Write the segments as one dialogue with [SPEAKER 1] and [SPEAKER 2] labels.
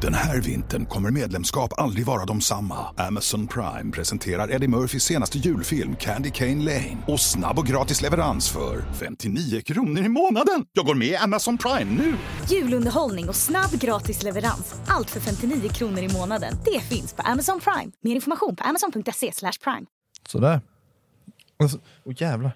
[SPEAKER 1] Den här vintern kommer medlemskap aldrig vara de samma. Amazon Prime presenterar Eddie Murphys senaste julfilm Candy Cane Lane. Och snabb och gratis leverans för 59 kronor i månaden. Jag går med i Amazon Prime nu!
[SPEAKER 2] Julunderhållning och snabb gratis leverans. Allt för 59 kronor i månaden. Det finns på Amazon Prime. Mer information på amazon.se slash prime.
[SPEAKER 3] Sådär. Och så, oh, jävlar.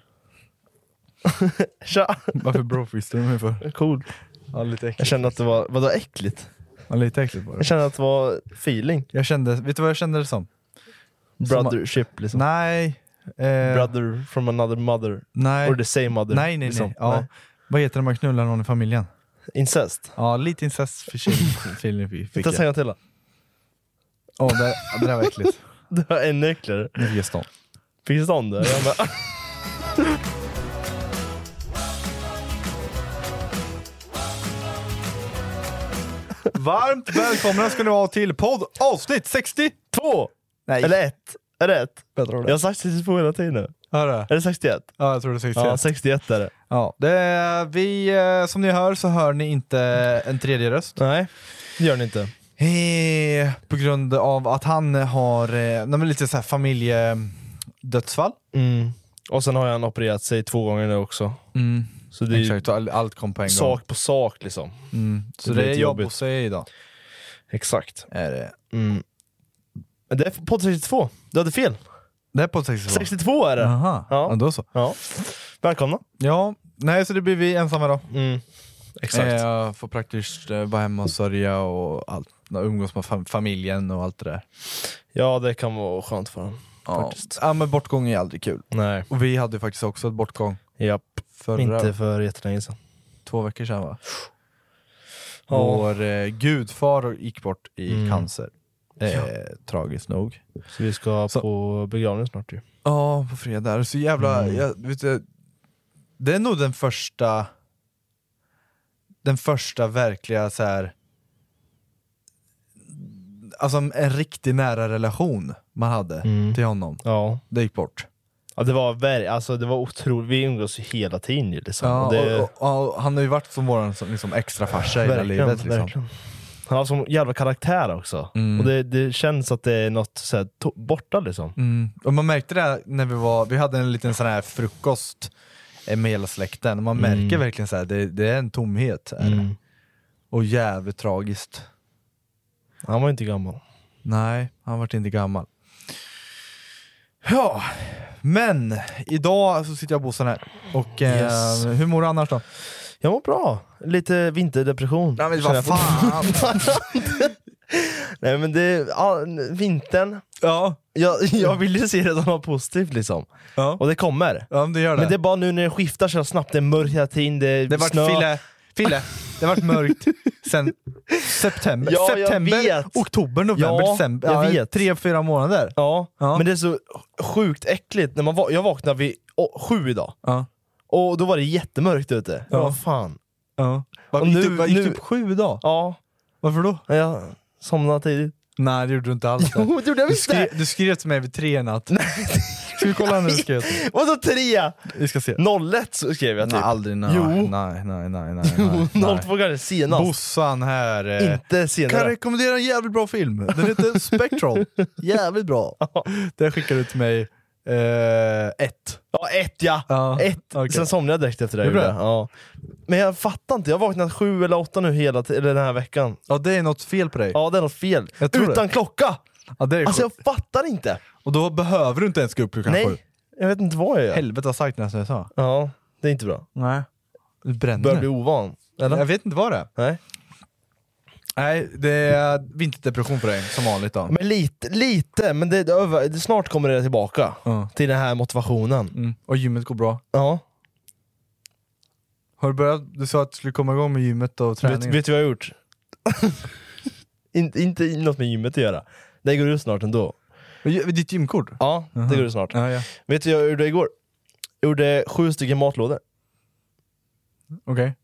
[SPEAKER 4] Tja!
[SPEAKER 3] Varför brofistar du mig för?
[SPEAKER 4] Cool.
[SPEAKER 3] Ja, lite
[SPEAKER 4] Jag
[SPEAKER 3] äckligt.
[SPEAKER 4] kände att det var, vadå äckligt?
[SPEAKER 3] Ja, lite äckligt bara.
[SPEAKER 4] Jag kände att det var feeling.
[SPEAKER 3] Jag kände, vet du vad jag kände det som?
[SPEAKER 4] Brothership liksom.
[SPEAKER 3] Nej. Eh,
[SPEAKER 4] Brother from another mother.
[SPEAKER 3] nej.
[SPEAKER 4] Or the same mother.
[SPEAKER 3] nej, nej, nej.
[SPEAKER 4] liksom.
[SPEAKER 3] Ja.
[SPEAKER 4] Nej.
[SPEAKER 3] Vad heter det när man knullar någon i familjen?
[SPEAKER 4] Incest.
[SPEAKER 3] Ja, lite incest-feeling fick
[SPEAKER 4] Testa en
[SPEAKER 3] jag.
[SPEAKER 4] gång till då.
[SPEAKER 3] Åh, det, det där var äckligt.
[SPEAKER 4] Det var ännu äckligare.
[SPEAKER 3] Nu fick jag stånd.
[SPEAKER 4] Fick du stånd det? Jag bara,
[SPEAKER 3] Varmt välkomna ska ni vara till podd avsnitt 62! Nej,
[SPEAKER 4] Eller ett. Är det ett?
[SPEAKER 3] bättre ord.
[SPEAKER 4] Jag har sagt 62 hela tiden nu.
[SPEAKER 3] Hör du?
[SPEAKER 4] Är det 61?
[SPEAKER 3] Ja, jag tror det är 61.
[SPEAKER 4] Ja, 61 är det.
[SPEAKER 3] Ja, det är, vi, eh, som ni hör så hör ni inte en tredje röst.
[SPEAKER 4] Nej, det gör ni inte.
[SPEAKER 3] Eh, På grund av att han har eh, nej, men lite så här familjedödsfall.
[SPEAKER 4] Och sen har han opererat sig två gånger nu också. Så det är ju
[SPEAKER 3] Mm. Exakt, all- allt kom på en gång. Mm.
[SPEAKER 4] sak på sak liksom.
[SPEAKER 3] Så
[SPEAKER 4] blir
[SPEAKER 3] det är
[SPEAKER 4] lite
[SPEAKER 3] jobb
[SPEAKER 4] jobbigt.
[SPEAKER 3] hos sig idag.
[SPEAKER 4] Exakt. Mm.
[SPEAKER 3] Är det.
[SPEAKER 4] Men Det är podd 62. Du hade fel.
[SPEAKER 3] det är på 62.
[SPEAKER 4] 62 är det.
[SPEAKER 3] Aha, ja.
[SPEAKER 4] Ja.
[SPEAKER 3] då så.
[SPEAKER 4] Ja. Välkomna. Mm.
[SPEAKER 3] Ja, nej så det blir vi ensamma då.
[SPEAKER 4] Exakt.
[SPEAKER 3] Eh, Jag får praktiskt eh, vara hemma och sörja och allt. umgås med fam- familjen och allt det där.
[SPEAKER 4] Ja, det kan vara skönt för honom.
[SPEAKER 3] Ja.
[SPEAKER 4] Faktiskt.
[SPEAKER 3] ja men bortgång är aldrig kul.
[SPEAKER 4] Nej.
[SPEAKER 3] Och vi hade ju faktiskt också ett bortgång
[SPEAKER 4] Japp.
[SPEAKER 3] förra
[SPEAKER 4] Inte för jättelänge sedan.
[SPEAKER 3] två veckor sedan va?
[SPEAKER 4] Ja. Mm.
[SPEAKER 3] Vår eh, gudfar gick bort i cancer. Eh, Tragiskt nog.
[SPEAKER 4] Så vi ska
[SPEAKER 3] Så-
[SPEAKER 4] på begravning snart ju. Mm.
[SPEAKER 3] Ja, på fredag. Så jävla... Jag, vet du, det är nog den första... Den första verkliga så här. Alltså en riktig nära relation man hade till honom.
[SPEAKER 4] Mm. Ja.
[SPEAKER 3] Det gick bort.
[SPEAKER 4] ja det var ver- alltså det var otroligt. Vi umgås ju hela tiden ju liksom.
[SPEAKER 3] Ja,
[SPEAKER 4] Och det...
[SPEAKER 3] och, och, och, han har ju varit som våran som, liksom, extra farsa i hela
[SPEAKER 4] Verkligen,
[SPEAKER 3] livet. Liksom. Mm.
[SPEAKER 4] verkligen. Han har sån jävla karaktär också. Och det, det känns att det är något så här, to- borta liksom.
[SPEAKER 3] Mm. Och man märkte det här när vi var, vi hade en liten sån här frukost eh, med hela släkten, och man
[SPEAKER 4] Mm.
[SPEAKER 3] märker verkligen så här, det, det är en tomhet. Är det. Och jävligt tragiskt.
[SPEAKER 4] Han var inte gammal.
[SPEAKER 3] Nej, han vart inte gammal. Ja, men idag så sitter jag och Bossan här. Och eh,
[SPEAKER 4] Yes.
[SPEAKER 3] hur mår du annars då?
[SPEAKER 4] Jag mår bra. Lite vinterdepression.
[SPEAKER 3] Ja, men
[SPEAKER 4] känner
[SPEAKER 3] vad
[SPEAKER 4] jag fortfarande.
[SPEAKER 3] fan!
[SPEAKER 4] Nej men det, ja, vintern.
[SPEAKER 3] ja,
[SPEAKER 4] Jag, jag vill ju se det som något positivt liksom.
[SPEAKER 3] ja.
[SPEAKER 4] Och det kommer.
[SPEAKER 3] ja, men det gör det.
[SPEAKER 4] Men det är bara nu när det skiftar så snabbt, det är mörkt hela tiden, det är
[SPEAKER 3] det vart
[SPEAKER 4] snö.
[SPEAKER 3] Fille,
[SPEAKER 4] Fille, det har varit mörkt sen september.
[SPEAKER 3] Ja, jag
[SPEAKER 4] september,
[SPEAKER 3] vet.
[SPEAKER 4] oktober, november,
[SPEAKER 3] Ja,
[SPEAKER 4] december.
[SPEAKER 3] jag vet.
[SPEAKER 4] Tre, fyra månader.
[SPEAKER 3] Ja,
[SPEAKER 4] Ja.
[SPEAKER 3] men det är så sjukt äckligt. När man va- jag vaknade vid å- sju idag,
[SPEAKER 4] Ja.
[SPEAKER 3] och då var det jättemörkt ute. Ja.
[SPEAKER 4] Ja.
[SPEAKER 3] Vad fan.
[SPEAKER 4] Ja. Var,
[SPEAKER 3] Och
[SPEAKER 4] gick
[SPEAKER 3] nu-
[SPEAKER 4] du, gick
[SPEAKER 3] nu-
[SPEAKER 4] du upp sju idag?
[SPEAKER 3] Ja,
[SPEAKER 4] Varför då?
[SPEAKER 3] men jag somnade tidigt.
[SPEAKER 4] Nej det gjorde du inte alls.
[SPEAKER 3] Jo, det gjorde jag
[SPEAKER 4] du,
[SPEAKER 3] visst det.
[SPEAKER 4] skrev, du skrev till mig vid tre i natt. Ska vi kolla när du skrev? till mig?
[SPEAKER 3] Vadå trea?
[SPEAKER 4] Vi ska se.
[SPEAKER 3] 01 så skrev jag typ.
[SPEAKER 4] Nej, aldrig. Nej,
[SPEAKER 3] Jo.
[SPEAKER 4] nej, nej, nej, nej, nej, nej.
[SPEAKER 3] 02 kanske senast.
[SPEAKER 4] Bossan här. eh,
[SPEAKER 3] Inte
[SPEAKER 4] Kan
[SPEAKER 3] senare.
[SPEAKER 4] rekommendera en jävligt bra film. Den heter Spectral. jävligt bra. Den skickade du till mig. Eh, ett.
[SPEAKER 3] Ja, ett ja!
[SPEAKER 4] Ja,
[SPEAKER 3] ett.
[SPEAKER 4] okej.
[SPEAKER 3] Sen somnade jag direkt efter det.
[SPEAKER 4] Gjorde
[SPEAKER 3] gjorde
[SPEAKER 4] du?
[SPEAKER 3] jag. Ja. Men jag fattar inte, jag har vaknat sju eller åtta nu hela t- eller den här veckan.
[SPEAKER 4] Ja det är något fel på dig.
[SPEAKER 3] Ja, det är något fel.
[SPEAKER 4] Jag tror
[SPEAKER 3] Utan
[SPEAKER 4] det.
[SPEAKER 3] klocka!
[SPEAKER 4] Ja, det är
[SPEAKER 3] Alltså jag
[SPEAKER 4] sjukt.
[SPEAKER 3] fattar inte.
[SPEAKER 4] Och då behöver du inte ens gå upp klockan sju.
[SPEAKER 3] Nej, jag vet inte vad jag gör.
[SPEAKER 4] Helvete vad sagt nästan jag sa.
[SPEAKER 3] Ja, det är inte bra.
[SPEAKER 4] Nej. Du bränner.
[SPEAKER 3] Börjar bli ovan. Eller?
[SPEAKER 4] Jag vet inte vad det är.
[SPEAKER 3] Nej.
[SPEAKER 4] Nej, det är vinterdepression för dig som vanligt då.
[SPEAKER 3] Men lite, lite. Men det, det, över- det, snart kommer det tillbaka.
[SPEAKER 4] Ja.
[SPEAKER 3] Till den här motivationen.
[SPEAKER 4] Mm. Och gymmet går bra.
[SPEAKER 3] Ja.
[SPEAKER 4] Har du börjat? Du sa att du skulle komma igång med gymmet och
[SPEAKER 3] Vet,
[SPEAKER 4] träningen.
[SPEAKER 3] vet du vad jag har gjort? In, inte något med gymmet att göra. Det går ut snart ändå.
[SPEAKER 4] Vet, Ditt gymkort?
[SPEAKER 3] Ja, det går ut snart.
[SPEAKER 4] Ja, ja.
[SPEAKER 3] Vet du vad jag gjorde igår? Jag gjorde sju stycken matlådor.
[SPEAKER 4] Okej.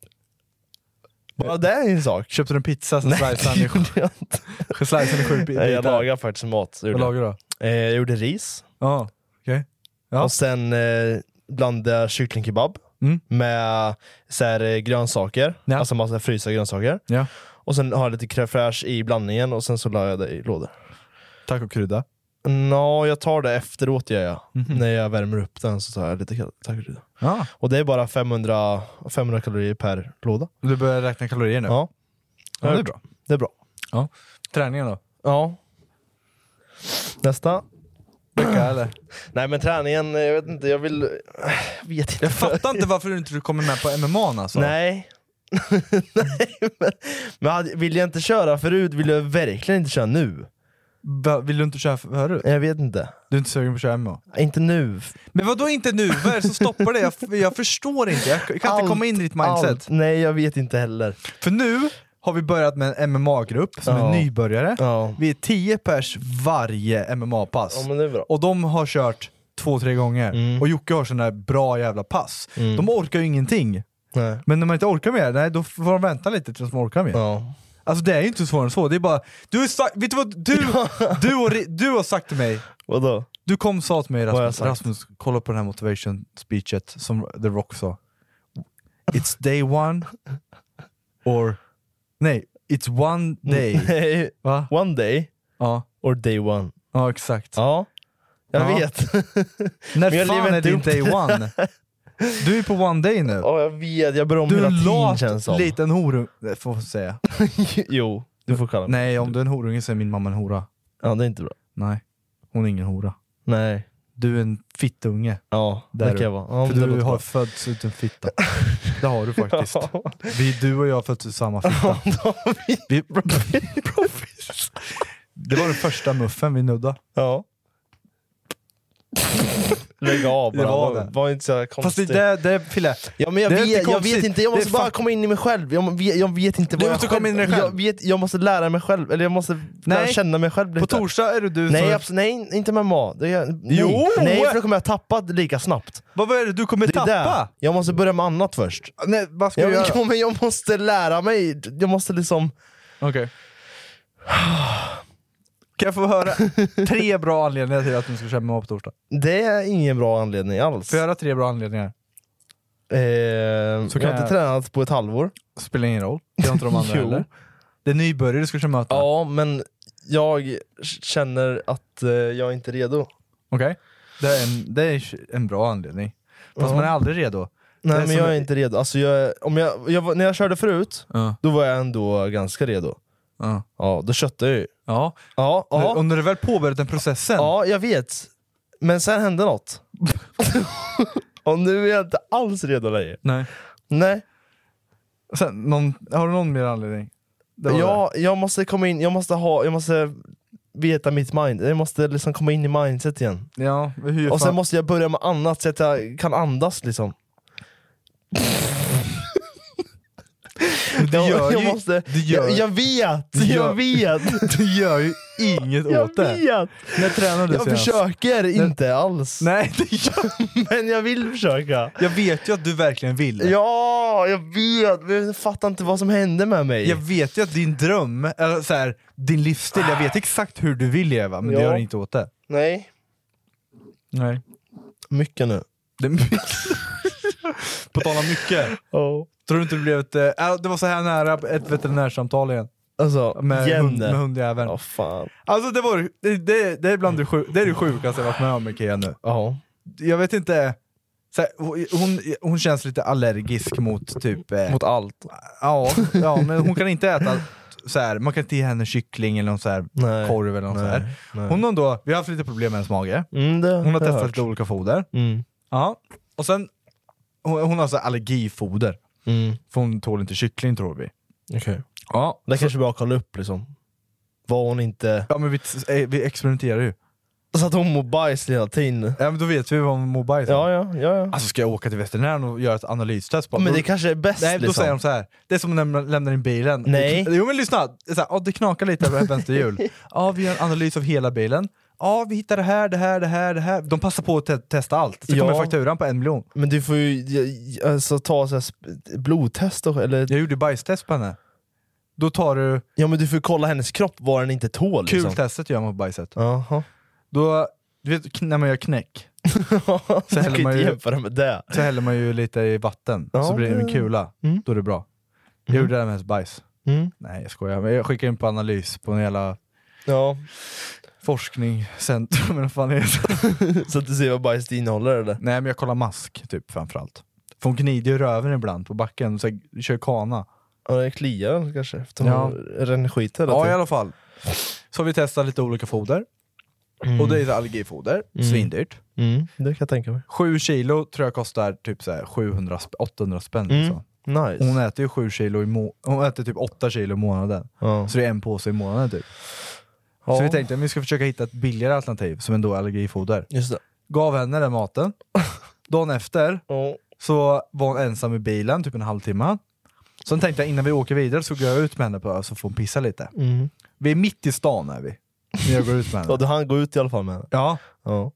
[SPEAKER 3] Bara det är en sak.
[SPEAKER 4] Köpte du en pizza så
[SPEAKER 3] Nej,
[SPEAKER 4] sliceade
[SPEAKER 3] det
[SPEAKER 4] ni sju-
[SPEAKER 3] gjorde jag inte.
[SPEAKER 4] sliceade ni sju bitar?
[SPEAKER 3] Nej, jag lagade faktiskt mat. Jag
[SPEAKER 4] Vad
[SPEAKER 3] gjorde.
[SPEAKER 4] lagar du då?
[SPEAKER 3] Eh, jag gjorde ris,
[SPEAKER 4] Ja, okej. Ja.
[SPEAKER 3] och sen eh, blandade jag kycklingkebab
[SPEAKER 4] Mm.
[SPEAKER 3] med så här, eh, grönsaker,
[SPEAKER 4] Ja.
[SPEAKER 3] alltså massa frysta grönsaker.
[SPEAKER 4] Ja.
[SPEAKER 3] Och sen har jag lite crème fraîche i blandningen och sen så la jag det i lådor.
[SPEAKER 4] Tack och krydda.
[SPEAKER 3] Nå, jag tar det efteråt gör jag. När jag värmer upp den så tar jag lite tacokrydda.
[SPEAKER 4] Mhm. Ja.
[SPEAKER 3] Och det är bara 500, 500 kalorier per låda.
[SPEAKER 4] Du börjar räkna kalorier nu?
[SPEAKER 3] Ja.
[SPEAKER 4] Ja, det är bra.
[SPEAKER 3] Det är bra.
[SPEAKER 4] Ja. Träningen då?
[SPEAKER 3] Ja. Nästa.
[SPEAKER 4] Vecka eller?
[SPEAKER 3] Nej men träningen, jag vet inte, jag vill... Jag vet inte.
[SPEAKER 4] Jag fattar inte varför du inte kommer med på MMA alltså.
[SPEAKER 3] Nej. Nej men, men hade- vill jag inte köra förut vill jag verkligen inte köra nu.
[SPEAKER 4] Va- Vill du inte köra förut?
[SPEAKER 3] Jag vet inte.
[SPEAKER 4] Du är inte sugen på att köra MMA?
[SPEAKER 3] Inte nu.
[SPEAKER 4] Men vad då inte nu? Vad är det som stoppar dig? Jag, jag förstår inte, jag kan inte
[SPEAKER 3] Allt,
[SPEAKER 4] komma in i ditt mindset.
[SPEAKER 3] Allt. Nej jag vet inte heller.
[SPEAKER 4] För nu har vi börjat med en MMA-grupp som
[SPEAKER 3] Ja.
[SPEAKER 4] är nybörjare.
[SPEAKER 3] Ja.
[SPEAKER 4] Vi är 10 pers varje MMA-pass.
[SPEAKER 3] Ja men det är bra. Mm.
[SPEAKER 4] Och de har kört två, tre gånger. Och Jocke har sådana där bra jävla pass. De orkar ju ingenting.
[SPEAKER 3] Nej.
[SPEAKER 4] Men när man inte orkar mer, nej då får de vänta lite tills de orkar mer.
[SPEAKER 3] Ja.
[SPEAKER 4] Alltså det är ju inte svårare än så, det är bara... Du har sagt, vet du vad du, du, har, du har sagt till mig,
[SPEAKER 3] Vadå?
[SPEAKER 4] du kom och sa till mig
[SPEAKER 3] har jag
[SPEAKER 4] Rasmus,
[SPEAKER 3] sagt?
[SPEAKER 4] Rasmus, kolla på den här motivation speechet som The Rock sa. It's day one, or... Nej, it's one day.
[SPEAKER 3] Nej.
[SPEAKER 4] Va?
[SPEAKER 3] One day
[SPEAKER 4] Ja,
[SPEAKER 3] or day one.
[SPEAKER 4] ja exakt.
[SPEAKER 3] Ja. Jag
[SPEAKER 4] Ja.
[SPEAKER 3] vet.
[SPEAKER 4] När
[SPEAKER 3] Men jag
[SPEAKER 4] fan
[SPEAKER 3] lever
[SPEAKER 4] är
[SPEAKER 3] inte
[SPEAKER 4] din
[SPEAKER 3] upp
[SPEAKER 4] day one? Du är på one day nu.
[SPEAKER 3] Ja jag vet, jag börjar om
[SPEAKER 4] Du är
[SPEAKER 3] hela
[SPEAKER 4] en
[SPEAKER 3] tiden känns
[SPEAKER 4] lat
[SPEAKER 3] som.
[SPEAKER 4] liten horunge. Det Får jag säga.
[SPEAKER 3] jo, du får kalla mig.
[SPEAKER 4] Nej, om du är en horunge så är min mamma en hora.
[SPEAKER 3] Ja det är inte bra.
[SPEAKER 4] Nej, hon är ingen hora.
[SPEAKER 3] Nej.
[SPEAKER 4] Du är en fittunge.
[SPEAKER 3] Ja,
[SPEAKER 4] Där
[SPEAKER 3] det
[SPEAKER 4] du.
[SPEAKER 3] kan jag vara. Ja,
[SPEAKER 4] För
[SPEAKER 3] men det
[SPEAKER 4] du
[SPEAKER 3] låter
[SPEAKER 4] har
[SPEAKER 3] bra.
[SPEAKER 4] fötts ut en fitta. Det har du faktiskt. Vi, du och jag har fötts ut samma fitta. Vi, det var den första muffen vi nuddade.
[SPEAKER 3] Ja. Lägg av bara,
[SPEAKER 4] Det var
[SPEAKER 3] var,
[SPEAKER 4] det.
[SPEAKER 3] var, inte så här
[SPEAKER 4] Fast det
[SPEAKER 3] konstig.
[SPEAKER 4] det, det Fille.
[SPEAKER 3] ja, men jag,
[SPEAKER 4] det är
[SPEAKER 3] vet,
[SPEAKER 4] inte
[SPEAKER 3] jag vet
[SPEAKER 4] konstigt.
[SPEAKER 3] inte, jag
[SPEAKER 4] Det är
[SPEAKER 3] måste bara
[SPEAKER 4] fuck-
[SPEAKER 3] komma in i mig själv. Jag, vet- jag vet inte vad
[SPEAKER 4] Du
[SPEAKER 3] jag
[SPEAKER 4] måste
[SPEAKER 3] själv,
[SPEAKER 4] komma in i dig själv.
[SPEAKER 3] Jag, vet, jag måste lära mig själv, eller jag måste lära
[SPEAKER 4] Nej.
[SPEAKER 3] känna mig själv
[SPEAKER 4] På
[SPEAKER 3] lite.
[SPEAKER 4] torsdag är det du
[SPEAKER 3] Nej,
[SPEAKER 4] som...
[SPEAKER 3] absolut, nej, inte MMA. Det gör, nej.
[SPEAKER 4] Jo!
[SPEAKER 3] nej, för då kommer jag tappa det lika snabbt.
[SPEAKER 4] Vad är det du kommer
[SPEAKER 3] Det är
[SPEAKER 4] tappa?
[SPEAKER 3] där. Jag måste börja med annat först.
[SPEAKER 4] Nej, vad ska
[SPEAKER 3] Jag,
[SPEAKER 4] du göra?
[SPEAKER 3] jo, men jag måste lära mig, jag måste liksom...
[SPEAKER 4] Okej. Kan jag få höra tre bra anledningar till att du ska köra MMA på torsdag?
[SPEAKER 3] Det är ingen bra anledning alls.
[SPEAKER 4] Får jag höra tre bra anledningar?
[SPEAKER 3] Eh,
[SPEAKER 4] Så kan
[SPEAKER 3] jag har
[SPEAKER 4] jag-
[SPEAKER 3] inte tränat på ett halvår.
[SPEAKER 4] Spelar ingen roll. Det har inte de andra
[SPEAKER 3] Jo.
[SPEAKER 4] heller. Det är nybörjare du ska köra möta.
[SPEAKER 3] Ja, men jag känner att eh, jag är inte redo.
[SPEAKER 4] Okej? Det är, en, det är en bra anledning. Fast
[SPEAKER 3] Ja.
[SPEAKER 4] man är aldrig redo. Det
[SPEAKER 3] Nej
[SPEAKER 4] är
[SPEAKER 3] men
[SPEAKER 4] som-
[SPEAKER 3] jag är inte redo. Alltså, jag, om jag, jag, var- när jag körde förut,
[SPEAKER 4] Ja.
[SPEAKER 3] då var jag ändå ganska redo.
[SPEAKER 4] Ja.
[SPEAKER 3] Ja, då köttade jag ju.
[SPEAKER 4] Ja.
[SPEAKER 3] Ja,
[SPEAKER 4] Och
[SPEAKER 3] ja,
[SPEAKER 4] när du väl påbörjat den processen,
[SPEAKER 3] ja, jag vet. Men sen hände något. Och nu är jag inte alls redo längre.
[SPEAKER 4] nej.
[SPEAKER 3] Nej,
[SPEAKER 4] Sen, någon, har du någon mer anledning? Det var
[SPEAKER 3] jag, jag måste komma in, jag måste ha, jag måste veta mitt mind. Jag måste liksom komma in i mindset igen.
[SPEAKER 4] det. Ja, hur
[SPEAKER 3] Och sen
[SPEAKER 4] fan-
[SPEAKER 3] måste jag börja med annat så att jag kan andas liksom. Du gör
[SPEAKER 5] jag,
[SPEAKER 3] ju-
[SPEAKER 5] jag, måste,
[SPEAKER 3] du gör-
[SPEAKER 5] jag, jag vet!
[SPEAKER 3] du gör-
[SPEAKER 5] Jag vet!
[SPEAKER 3] Du gör ju inget
[SPEAKER 5] Jag
[SPEAKER 3] åt det.
[SPEAKER 5] vet!
[SPEAKER 3] När tränade du
[SPEAKER 5] Jag
[SPEAKER 3] senast?
[SPEAKER 5] försöker inte alls.
[SPEAKER 3] Nej, det gör...
[SPEAKER 5] Men jag vill försöka.
[SPEAKER 3] jag vet ju att du verkligen vill.
[SPEAKER 5] Ja, jag vet! Men jag fattar inte vad som hände med mig.
[SPEAKER 3] Jag vet ju att din dröm, eller så här, din livsstil, jag vet exakt hur du vill leva, men du
[SPEAKER 5] Ja.
[SPEAKER 3] gör inte åt det.
[SPEAKER 5] Nej.
[SPEAKER 3] Nej.
[SPEAKER 5] Mycket nu.
[SPEAKER 3] Det är mycket. På tal om mycket,
[SPEAKER 5] Oh.
[SPEAKER 3] tror du inte det blev ett... Äh, det var så här nära ett veterinärsamtal igen.
[SPEAKER 5] Alltså,
[SPEAKER 3] Med, hund, med
[SPEAKER 5] igen.
[SPEAKER 3] hundjäveln.
[SPEAKER 5] Ja, fan.
[SPEAKER 3] Alltså det, var, det, det, det är bland det, sjuk, det, är det sjukaste jag varit med om Ikea nu.
[SPEAKER 5] Ja.
[SPEAKER 3] Jag vet inte, så här, hon, hon känns lite allergisk mot typ... eh,
[SPEAKER 5] Mot allt.
[SPEAKER 3] Ja, ja, men hon kan inte äta så här, man kan inte ge henne kyckling eller någon så här
[SPEAKER 5] Nej,
[SPEAKER 3] korv eller något så här. Hon har då, vi har haft lite problem med hennes mage.
[SPEAKER 5] Mm, det,
[SPEAKER 3] Hon har
[SPEAKER 5] det
[SPEAKER 3] testat
[SPEAKER 5] hört.
[SPEAKER 3] lite olika foder.
[SPEAKER 5] Mm.
[SPEAKER 3] Ja. Och sen, hon, hon har så här allergifoder.
[SPEAKER 5] Mm.
[SPEAKER 3] För hon tål inte kyckling tror vi.
[SPEAKER 5] Okej.
[SPEAKER 3] Ja.
[SPEAKER 5] Det kanske är bra att kolla upp liksom. Var hon inte...
[SPEAKER 3] Ja men vi, eh, vi experimenterar ju.
[SPEAKER 5] Så att hon mår bajs hela tiden.
[SPEAKER 3] Ja men då vet vi vad hon mår bajs av.
[SPEAKER 5] Ja, ja, ja. ja.
[SPEAKER 3] Alltså ska jag åka till veterinären och göra ett analystest? På?
[SPEAKER 5] men
[SPEAKER 3] då,
[SPEAKER 5] det kanske är bäst
[SPEAKER 3] nej, då
[SPEAKER 5] liksom.
[SPEAKER 3] säger de så här. det är som när man lämnar in bilen.
[SPEAKER 5] Nej.
[SPEAKER 3] Det, jo men lyssna, det, är så här, ja, det knakar lite över vänster hjul. ja vi gör en analys av hela bilen. Ja vi hittar det här, det här, det här, det här. De passar på att te- testa allt. Så
[SPEAKER 5] Ja.
[SPEAKER 3] kommer fakturan på en miljon.
[SPEAKER 5] Men du får ju ja, alltså, ta så här, sp- blodtest och, eller
[SPEAKER 3] Jag gjorde bajstest på henne. Då tar du
[SPEAKER 5] Ja men du får kolla hennes kropp, vad den inte tål liksom.
[SPEAKER 3] kultestet gör man på bajset.
[SPEAKER 5] Jaha.
[SPEAKER 3] Då, du vet kn- när man gör knäck,
[SPEAKER 5] du
[SPEAKER 3] häller
[SPEAKER 5] kan
[SPEAKER 3] man
[SPEAKER 5] inte
[SPEAKER 3] ju-
[SPEAKER 5] jämföra med det.
[SPEAKER 3] så häller man ju lite i vatten,
[SPEAKER 5] Ja,
[SPEAKER 3] så blir det en
[SPEAKER 5] det-
[SPEAKER 3] kula.
[SPEAKER 5] Mm.
[SPEAKER 3] Då är det bra. Jag gjorde det här med hennes bajs. Nej jag skojar, men jag skickade in på analys på en jävla
[SPEAKER 5] Ja.
[SPEAKER 3] forskningscentrum eller vad fan är det?
[SPEAKER 5] Så att du ser vad bajset innehåller eller?
[SPEAKER 3] Nej men jag kollar mask typ framförallt. För hon gnider ju röven ibland på backen, så jag kör kana.
[SPEAKER 5] Ja det kliar den kanske, efter
[SPEAKER 3] Ja.
[SPEAKER 5] ja. skit hela
[SPEAKER 3] Ja i
[SPEAKER 5] tiden.
[SPEAKER 3] alla fall. Så har vi testat lite olika foder. Och det är så här allergifoder, svindyrt.
[SPEAKER 5] Mm, det kan jag tänka mig.
[SPEAKER 3] Sju kilo tror jag kostar typ så här 700 sp- 800 spänn. Liksom.
[SPEAKER 5] Mm. Nice.
[SPEAKER 3] Hon äter ju sju kilo i må- hon äter typ 8 kilo i månaden.
[SPEAKER 5] Ja.
[SPEAKER 3] Så det är en påse i månaden typ.
[SPEAKER 5] Ja.
[SPEAKER 3] Så vi tänkte att vi ska försöka hitta ett billigare alternativ som ändå är allergifoder.
[SPEAKER 5] Just det.
[SPEAKER 3] Gav henne den maten. Dagen efter så var hon ensam i bilen typ en halvtimme. Sen tänkte jag innan vi åker vidare så går jag ut med henne på ö så får hon pissa lite.
[SPEAKER 5] Mm.
[SPEAKER 3] Vi är mitt i stan är vi. När jag går ut med
[SPEAKER 5] Ja,
[SPEAKER 3] henne.
[SPEAKER 5] du hann gå ut i alla fall med henne.
[SPEAKER 3] Ja,
[SPEAKER 5] Ja.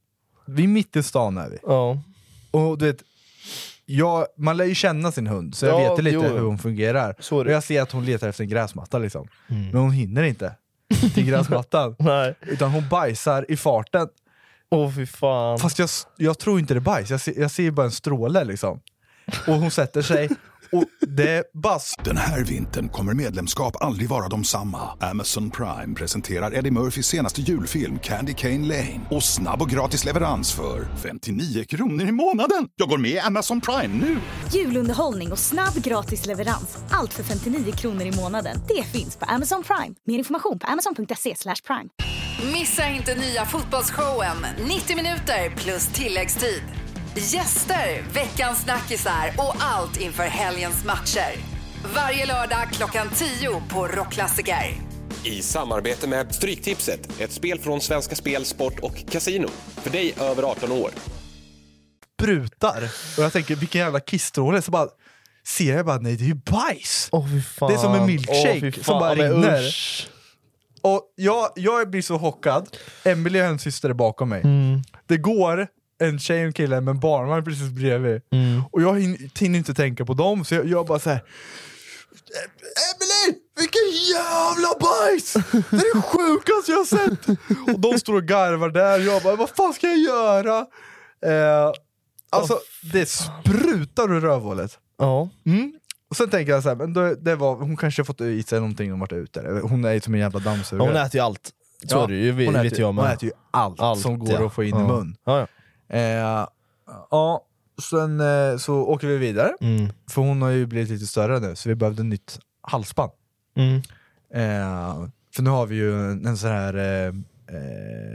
[SPEAKER 3] vi är mitt i stan är vi.
[SPEAKER 5] Ja.
[SPEAKER 3] Och du vet, jag, man lär ju känna sin hund, så jag
[SPEAKER 5] Ja,
[SPEAKER 3] vet ju lite
[SPEAKER 5] jo.
[SPEAKER 3] hur hon fungerar.
[SPEAKER 5] Så är
[SPEAKER 3] Och
[SPEAKER 5] det. Mm.
[SPEAKER 3] jag ser att hon letar efter en gräsmatta liksom. Men hon hinner inte till gräsmattan.
[SPEAKER 5] Nej.
[SPEAKER 3] Utan hon bajsar i farten.
[SPEAKER 5] Åh fy fan.
[SPEAKER 3] Fast jag, jag tror inte det är bajs, jag ser, jag ser ju bara en stråle liksom. Och hon sätter sig, och det är bara
[SPEAKER 1] Den här vintern kommer medlemskap aldrig vara de samma. Amazon Prime presenterar Eddie Murphys senaste julfilm Candy Cane Lane. Och snabb och gratis leverans för 59 kronor i månaden. Jag går med i Amazon Prime nu!
[SPEAKER 2] Julunderhållning och snabb gratis leverans. Allt för 59 kronor i månaden. Det finns på Amazon Prime. Mer information på amazon.se slash prime.
[SPEAKER 6] Missa inte nya fotbollsshowen 90 minuter plus tilläggstid. Gäster, veckans snackisar och allt inför helgens matcher. Varje lördag klockan 10 på Rockklassiker.
[SPEAKER 4] I samarbete med Stryktipset, ett spel från Svenska Spel, Sport och Casino. För dig över 18 år.
[SPEAKER 3] sprutar. Och jag tänker vilken jävla kissstråle, så bara ser jag bara nej det är ju bajs.
[SPEAKER 5] Åh fy fan.
[SPEAKER 3] Det är som en
[SPEAKER 5] Åh,
[SPEAKER 3] milkshake
[SPEAKER 5] fy fan.
[SPEAKER 3] som bara
[SPEAKER 5] Ja, men
[SPEAKER 3] rinner.
[SPEAKER 5] usch.
[SPEAKER 3] Och jag, jag blir så chockad, Emelie och hennes syster är bakom mig.
[SPEAKER 5] Mm.
[SPEAKER 3] Det går en tjej och en kille med en barnvagn precis bredvid.
[SPEAKER 5] Mm.
[SPEAKER 3] Och jag hin- hinner inte tänka på dem, så jag, jag bara så här. Emelie! Vilken jävla bajs! Det är det sjukaste jag har sett! Och de står och garvar där, jag bara vad fan ska jag göra? Eh, alltså det sprutar ur rövhålet. Mm.
[SPEAKER 5] Ja.
[SPEAKER 3] Och sen tänker jag så här, men då, det var, hon kanske har fått i sig någonting och varit ute. eller Hon är ju som en jävla
[SPEAKER 5] Ja,
[SPEAKER 3] dammsugare.
[SPEAKER 5] Hon äter ju allt. Så är det ju, vi-
[SPEAKER 3] hon äter
[SPEAKER 5] vet
[SPEAKER 3] ju,
[SPEAKER 5] jag med.
[SPEAKER 3] Hon äter ju allt, som går
[SPEAKER 5] ja.
[SPEAKER 3] att få in
[SPEAKER 5] ja.
[SPEAKER 3] i mun.
[SPEAKER 5] Ja, ja.
[SPEAKER 3] Eh, ja, sen eh, så åker vi vidare,
[SPEAKER 5] Mm.
[SPEAKER 3] för hon har ju blivit lite större nu, så vi behövde nytt halsband.
[SPEAKER 5] Mm.
[SPEAKER 3] Eh, för nu har vi ju en, en sån här... Eh,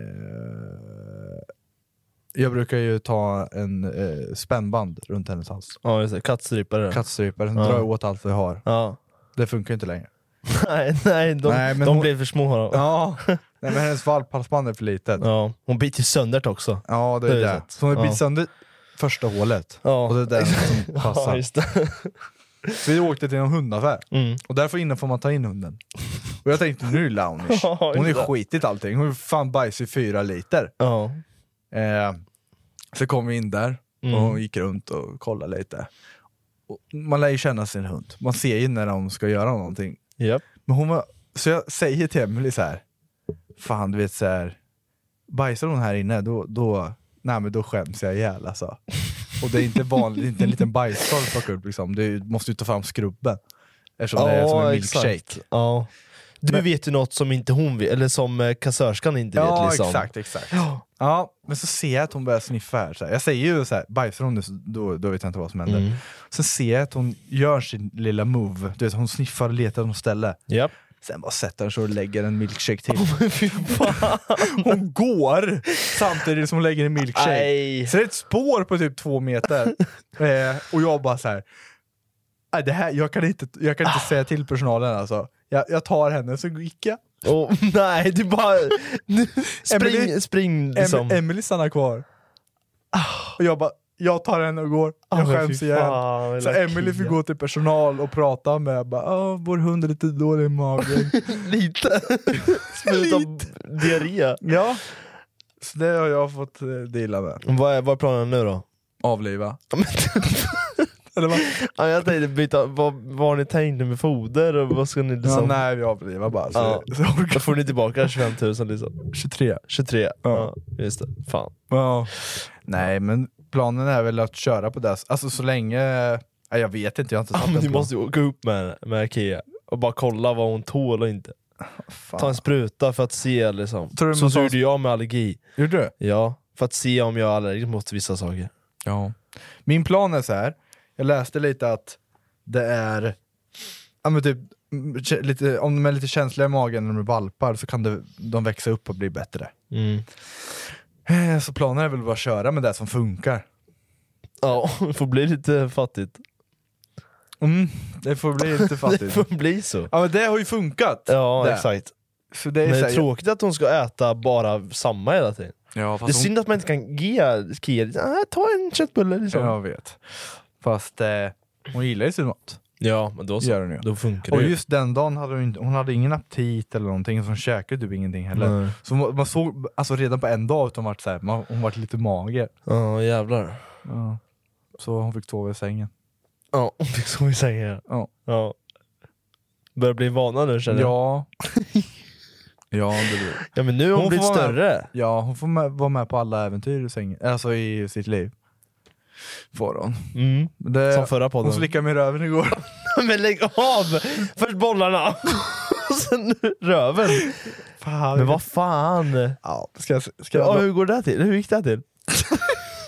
[SPEAKER 3] eh, jag brukar ju ta en eh, spännband runt hennes hals.
[SPEAKER 5] ja just det. Kattstrypare.
[SPEAKER 3] Kattstrypare, sen
[SPEAKER 5] Ja.
[SPEAKER 3] drar jag åt allt jag har.
[SPEAKER 5] Ja.
[SPEAKER 3] Det funkar ju inte längre.
[SPEAKER 5] Nej, nej, de,
[SPEAKER 3] Nej, men
[SPEAKER 5] de
[SPEAKER 3] hon-
[SPEAKER 5] blev för små. Då.
[SPEAKER 3] Ja, Nej, men hennes valphalsband är för litet.
[SPEAKER 5] Ja. Hon biter ju sönder det också.
[SPEAKER 3] Ja, det är
[SPEAKER 5] Det
[SPEAKER 3] det.
[SPEAKER 5] är sant.
[SPEAKER 3] Så hon har bitit
[SPEAKER 5] Ja.
[SPEAKER 3] sönder första hålet.
[SPEAKER 5] Ja.
[SPEAKER 3] Och det är den som passar.
[SPEAKER 5] just det. Mm.
[SPEAKER 3] Så vi åkte till en hundaffär. Och därför innan får man ta in hunden. Och jag tänkte nu är det Launish.
[SPEAKER 1] Ja,
[SPEAKER 3] Hon är
[SPEAKER 1] just det.
[SPEAKER 3] skitigt allting. Hon är fan bajs i fyra liter.
[SPEAKER 1] Ja.
[SPEAKER 3] Eh, så kom vi in där och
[SPEAKER 1] Mm.
[SPEAKER 3] hon gick runt och kollade lite. Och man lär ju känna sin hund. Man ser ju när de ska göra någonting.
[SPEAKER 1] Japp.
[SPEAKER 3] Men hon var, så jag säger till Emelie så här. Fan du vet så här. Bajsar hon här inne då, då, nej, men då skäms jag ihjäl alltså. Och det är inte vanligt, det är inte en liten bajskorv att plocka upp liksom. Du måste ju ta fram skrubben. Eftersom det är som en milkshake.
[SPEAKER 1] exakt. Ja. Du vet ju något som inte hon vet, eller som eh, kassörskan inte
[SPEAKER 3] Ja
[SPEAKER 1] vet. Liksom.
[SPEAKER 3] exakt, exakt. Ja, men så ser jag att hon börjar sniffa här. Så här. Jag säger ju så här, bajsar hon nu så då, då vet jag inte vad som händer.
[SPEAKER 1] Mm.
[SPEAKER 3] Sen ser jag att hon gör sin lilla move, du vet hon sniffar och letar något ställe.
[SPEAKER 1] Japp.
[SPEAKER 3] Sen bara sätter hon sig och lägger en milkshake till. hon går samtidigt som hon lägger en milkshake.
[SPEAKER 1] Nej.
[SPEAKER 3] Så det är ett spår på typ två meter. eh, och jag bara så här. "Nej, Det här, jag kan inte, jag kan inte säga till personalen alltså. Jag, jag tar henne så gick jag.
[SPEAKER 1] Och, nej, du bara... Nu, spring,
[SPEAKER 3] Emily-
[SPEAKER 1] spring
[SPEAKER 3] Em
[SPEAKER 1] liksom.
[SPEAKER 3] Emily stannar kvar. Och jag bara, jag tar henne och går. Jag
[SPEAKER 1] Ah, men
[SPEAKER 3] skäms
[SPEAKER 1] fy
[SPEAKER 3] igen.
[SPEAKER 1] fan,
[SPEAKER 3] så
[SPEAKER 1] lilla
[SPEAKER 3] Emily fick
[SPEAKER 1] Kia.
[SPEAKER 3] gå till personal och prata med. Jag bara, "Ah, vår hund är lite dålig i magen.
[SPEAKER 1] lite. Spruta diarré.
[SPEAKER 3] ja. Så det har jag fått eh, deala med.
[SPEAKER 1] Vad är, vad är planen nu då?
[SPEAKER 3] Avliva. Eller vad?
[SPEAKER 1] Ja, jag tänkte byta, vad, vad har ni tänkt nu med foder och vad ska ni
[SPEAKER 3] Ja,
[SPEAKER 1] liksom...
[SPEAKER 3] nej, vi avlivar bara. Så,
[SPEAKER 1] Ja.
[SPEAKER 3] så orkar
[SPEAKER 1] Då får ni tillbaka 25 000 liksom.
[SPEAKER 3] 23.
[SPEAKER 1] 23, ja. just det. Fan.
[SPEAKER 3] Ja. Nej, men planen är väl att köra på det. Alltså så länge... Nej, jag vet inte, jag har inte
[SPEAKER 1] Ja,
[SPEAKER 3] satt
[SPEAKER 1] men
[SPEAKER 3] en
[SPEAKER 1] du
[SPEAKER 3] plan.
[SPEAKER 1] måste ju åka upp med, med Kia och bara kolla vad hon tål och inte.
[SPEAKER 3] Fan.
[SPEAKER 1] Ta en spruta för att se liksom.
[SPEAKER 3] Tror du
[SPEAKER 1] Så
[SPEAKER 3] man tar-
[SPEAKER 1] gjorde jag med allergi.
[SPEAKER 3] Gjorde du?
[SPEAKER 1] Ja, för att se om jag är allergisk mot vissa saker.
[SPEAKER 3] Ja. Min plan är så här. jag läste lite att det är, ja men typ, mm, kä- lite, om de är lite känsliga i magen när de är valpar så kan det, de växa upp och bli bättre.
[SPEAKER 1] Mm.
[SPEAKER 3] Eh, Så planen är väl bara att köra med det som funkar.
[SPEAKER 1] Ja, det får bli lite fattigt.
[SPEAKER 3] Mm, det får bli lite
[SPEAKER 1] Det
[SPEAKER 3] fattigt.
[SPEAKER 1] får bli så.
[SPEAKER 3] Ja men det har ju funkat!
[SPEAKER 1] Ja,
[SPEAKER 3] det.
[SPEAKER 1] exakt.
[SPEAKER 3] Så det är
[SPEAKER 1] Men det
[SPEAKER 3] så
[SPEAKER 1] är
[SPEAKER 3] här,
[SPEAKER 1] tråkigt att hon ska äta bara samma hela tiden.
[SPEAKER 3] ja, fast
[SPEAKER 1] Det är
[SPEAKER 3] hon-
[SPEAKER 1] synd att man inte kan ge Kia lite, "Ah, ta en köttbulle liksom.
[SPEAKER 3] Jag vet. Fast eh, hon gillar ju sin mat.
[SPEAKER 1] Ja, men då
[SPEAKER 3] Gör den ju.
[SPEAKER 1] Då funkar
[SPEAKER 3] Och
[SPEAKER 1] det ju.
[SPEAKER 3] just den dagen hade hon, inte, hon hade ingen aptit eller någonting, så hon käkade typ ingenting heller.
[SPEAKER 1] Nej.
[SPEAKER 3] Så man, man såg alltså redan på en dag att hon vart, så här, man, hon vart lite mager.
[SPEAKER 1] Ja, jävlar.
[SPEAKER 3] Så hon fick sova i sängen.
[SPEAKER 1] Ja, det är så vi säger.
[SPEAKER 3] Ja.
[SPEAKER 1] Ja. Börjar bli en vana nu känner jag.
[SPEAKER 3] Ja. ja, det blir.
[SPEAKER 1] Ja men nu har hon,
[SPEAKER 3] Hon får
[SPEAKER 1] blivit
[SPEAKER 3] vara med.
[SPEAKER 1] större.
[SPEAKER 3] ja, hon får med, vara med på alla äventyr i, sängen, alltså i sitt liv. Får hon.
[SPEAKER 1] Mm.
[SPEAKER 3] Men Det,
[SPEAKER 1] Som förra podden.
[SPEAKER 3] Hon slickade mig i röven igår.
[SPEAKER 1] men lägg av! Först bollarna, och sen röven.
[SPEAKER 3] Fan,
[SPEAKER 1] Men vad fan.
[SPEAKER 3] Ja, ska jag, ska jag,
[SPEAKER 1] Ja, hur går det till? Hur gick det till?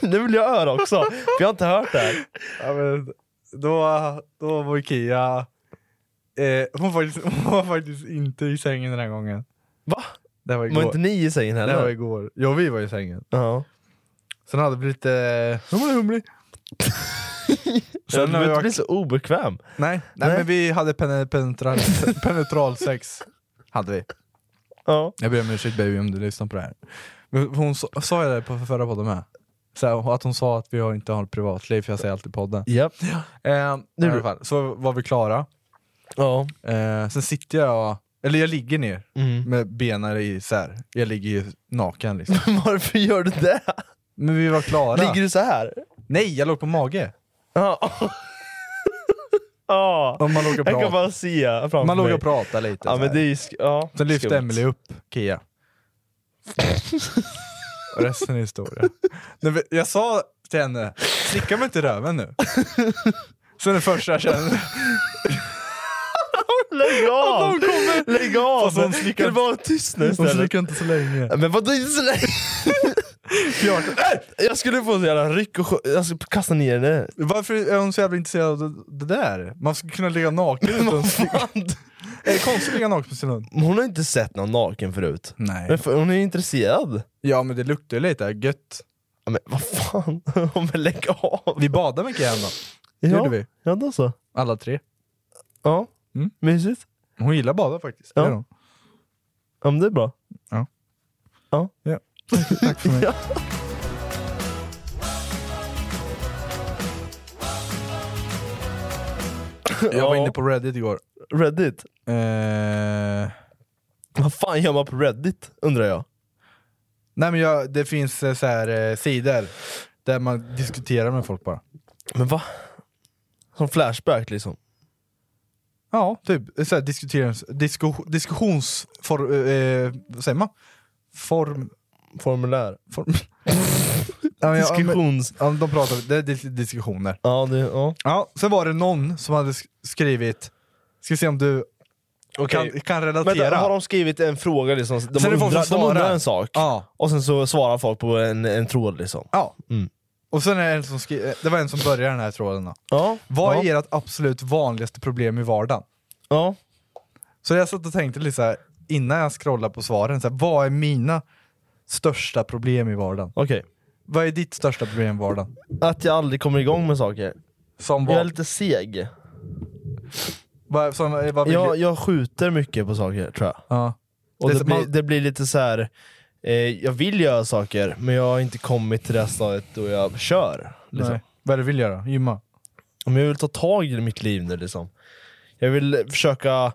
[SPEAKER 1] nu vill jag höra också, för jag har inte hört det här.
[SPEAKER 3] Ja, men, då, då var Kia... Eh, hon, var faktiskt, hon var faktiskt inte i sängen den här gången.
[SPEAKER 1] Va?
[SPEAKER 3] Det var
[SPEAKER 1] Var
[SPEAKER 3] igår.
[SPEAKER 1] inte ni i sängen
[SPEAKER 3] det var
[SPEAKER 1] heller?
[SPEAKER 3] igår. Ja, vi var i sängen.
[SPEAKER 1] Ja.
[SPEAKER 3] Sen hade vi lite... Humlig, humlig.
[SPEAKER 1] Du
[SPEAKER 3] Sen när vi
[SPEAKER 1] behöver inte
[SPEAKER 3] var...
[SPEAKER 1] bli så obekväm.
[SPEAKER 3] Nej, nej,
[SPEAKER 1] Nej.
[SPEAKER 3] men vi hade pene- penetral, penetralsex. Hade vi.
[SPEAKER 1] Ja.
[SPEAKER 3] Jag ber om ursäkt baby om du lyssnar på det här. Men hon sa, sa jag det på förra podden med? Så här, att hon sa att vi har- inte har ett privatliv, för jag säger alltid i podden.
[SPEAKER 1] Japp.
[SPEAKER 3] Eh,
[SPEAKER 1] Nu-
[SPEAKER 3] i alla fall, så var vi klara.
[SPEAKER 1] Ja.
[SPEAKER 3] Eh, sen sitter jag, eller jag ligger ner
[SPEAKER 1] Mm.
[SPEAKER 3] med benen isär. Jag ligger ju naken liksom.
[SPEAKER 1] Varför gör du det?
[SPEAKER 3] Men vi var klara.
[SPEAKER 1] Ligger du så här?
[SPEAKER 3] Nej, jag låg på mage.
[SPEAKER 1] Ja. Ja.
[SPEAKER 3] Och man låg och
[SPEAKER 1] Jag kan
[SPEAKER 3] pratade,
[SPEAKER 1] bara se framför
[SPEAKER 3] man låg
[SPEAKER 1] mig.
[SPEAKER 3] och pratade lite.
[SPEAKER 1] Ja,
[SPEAKER 3] så
[SPEAKER 1] men
[SPEAKER 3] här.
[SPEAKER 1] det är ju sk- ja,
[SPEAKER 3] Sen lyfte
[SPEAKER 1] skumt.
[SPEAKER 3] Emily upp Kia. och resten är historia. Nej, men jag sa till henne, slicka mig inte i röven nu. Sen det första jag kände,
[SPEAKER 1] Lägg av! Lägg av!
[SPEAKER 3] Fast hon
[SPEAKER 1] Kan
[SPEAKER 3] slickar-
[SPEAKER 1] du vara tyst nu
[SPEAKER 3] hon
[SPEAKER 1] istället?
[SPEAKER 3] slickade inte så länge.
[SPEAKER 1] Men vadå inte så länge?
[SPEAKER 3] Äh!
[SPEAKER 1] Jag skulle få en jävla ryck och skö- jag skulle kasta ner henne.
[SPEAKER 3] Varför är hon så jävla intresserad av det det där? Man skulle kunna ligga naken utan att slicka. Är det konstigt att ligga naken på sin hund? Mm.
[SPEAKER 1] Men Hon har inte sett någon naken förut.
[SPEAKER 3] Nej.
[SPEAKER 1] Men för, hon är ju intresserad.
[SPEAKER 3] Ja men det luktar ju lite gött.
[SPEAKER 1] Ja, men vad fan? Ja, men lägg av!
[SPEAKER 3] Vi badade mycket hemma,
[SPEAKER 1] Ja,
[SPEAKER 3] gjorde vi.
[SPEAKER 1] ja då så.
[SPEAKER 3] alla tre.
[SPEAKER 1] Ja,
[SPEAKER 3] Mm.
[SPEAKER 1] mysigt.
[SPEAKER 3] Hon gillar att bada faktiskt.
[SPEAKER 1] Ja.
[SPEAKER 3] Det gör hon.
[SPEAKER 1] Ja men det är bra.
[SPEAKER 3] Ja. Tack för mig. Jag var inne på Reddit igår.
[SPEAKER 7] Reddit?
[SPEAKER 3] Eh,
[SPEAKER 7] Vad fan gör man på Reddit, undrar jag?
[SPEAKER 3] nej men jag, det finns eh, så här, eh, sidor där man diskuterar med folk bara.
[SPEAKER 7] Men va? Som Flashback liksom?
[SPEAKER 3] Ja, typ. Så här, diskuterings, disku, diskussionsfor... Eh, vad säger man? Form...
[SPEAKER 7] Formulär?
[SPEAKER 3] form. ja, men, ja, men,
[SPEAKER 7] Diskussions...
[SPEAKER 3] ja, de pratar, det är dis- diskussioner.
[SPEAKER 7] Ja, det... Ja.
[SPEAKER 3] Ja, sen var det någon som hade sk- skrivit, ska se om du
[SPEAKER 7] Okej.
[SPEAKER 3] kan, kan
[SPEAKER 7] Men
[SPEAKER 3] relatera.
[SPEAKER 7] har de skrivit en fråga liksom? De,
[SPEAKER 3] Sen är det folk som
[SPEAKER 7] undrar, de undrar
[SPEAKER 3] svarar.
[SPEAKER 7] en sak,
[SPEAKER 3] Ja.
[SPEAKER 7] och sen så svarar folk på en, en tråd liksom.
[SPEAKER 3] Ja.
[SPEAKER 7] Mm.
[SPEAKER 3] Och sen är det en som skri- eh, det var en som började den här tråden då.
[SPEAKER 7] Ja.
[SPEAKER 3] Vad
[SPEAKER 7] ja.
[SPEAKER 3] är ert absolut vanligaste problem i vardagen?
[SPEAKER 7] Ja.
[SPEAKER 3] Så jag satt och tänkte lite så här, innan jag scrollade på svaren, så här, vad är mina största problem i vardagen?
[SPEAKER 7] Okej.
[SPEAKER 3] Vad är ditt största problem i vardagen?
[SPEAKER 7] Att jag aldrig kommer igång med saker.
[SPEAKER 3] Som
[SPEAKER 7] Jag är
[SPEAKER 3] vad?
[SPEAKER 7] lite seg.
[SPEAKER 3] vad, som, eh, vad vill
[SPEAKER 7] Jag,
[SPEAKER 3] du?
[SPEAKER 7] jag skjuter mycket på saker tror jag.
[SPEAKER 3] Ja.
[SPEAKER 7] Och
[SPEAKER 3] Det är
[SPEAKER 7] det,
[SPEAKER 3] så-
[SPEAKER 7] blir,
[SPEAKER 3] man-
[SPEAKER 7] det blir lite så här. Eh, jag vill göra saker, men jag har inte kommit till det här stadiet då jag kör. Liksom.
[SPEAKER 3] Nej. Vad är det du vill göra? Gymma?
[SPEAKER 7] Om jag vill ta tag i mitt liv nu liksom. Jag vill försöka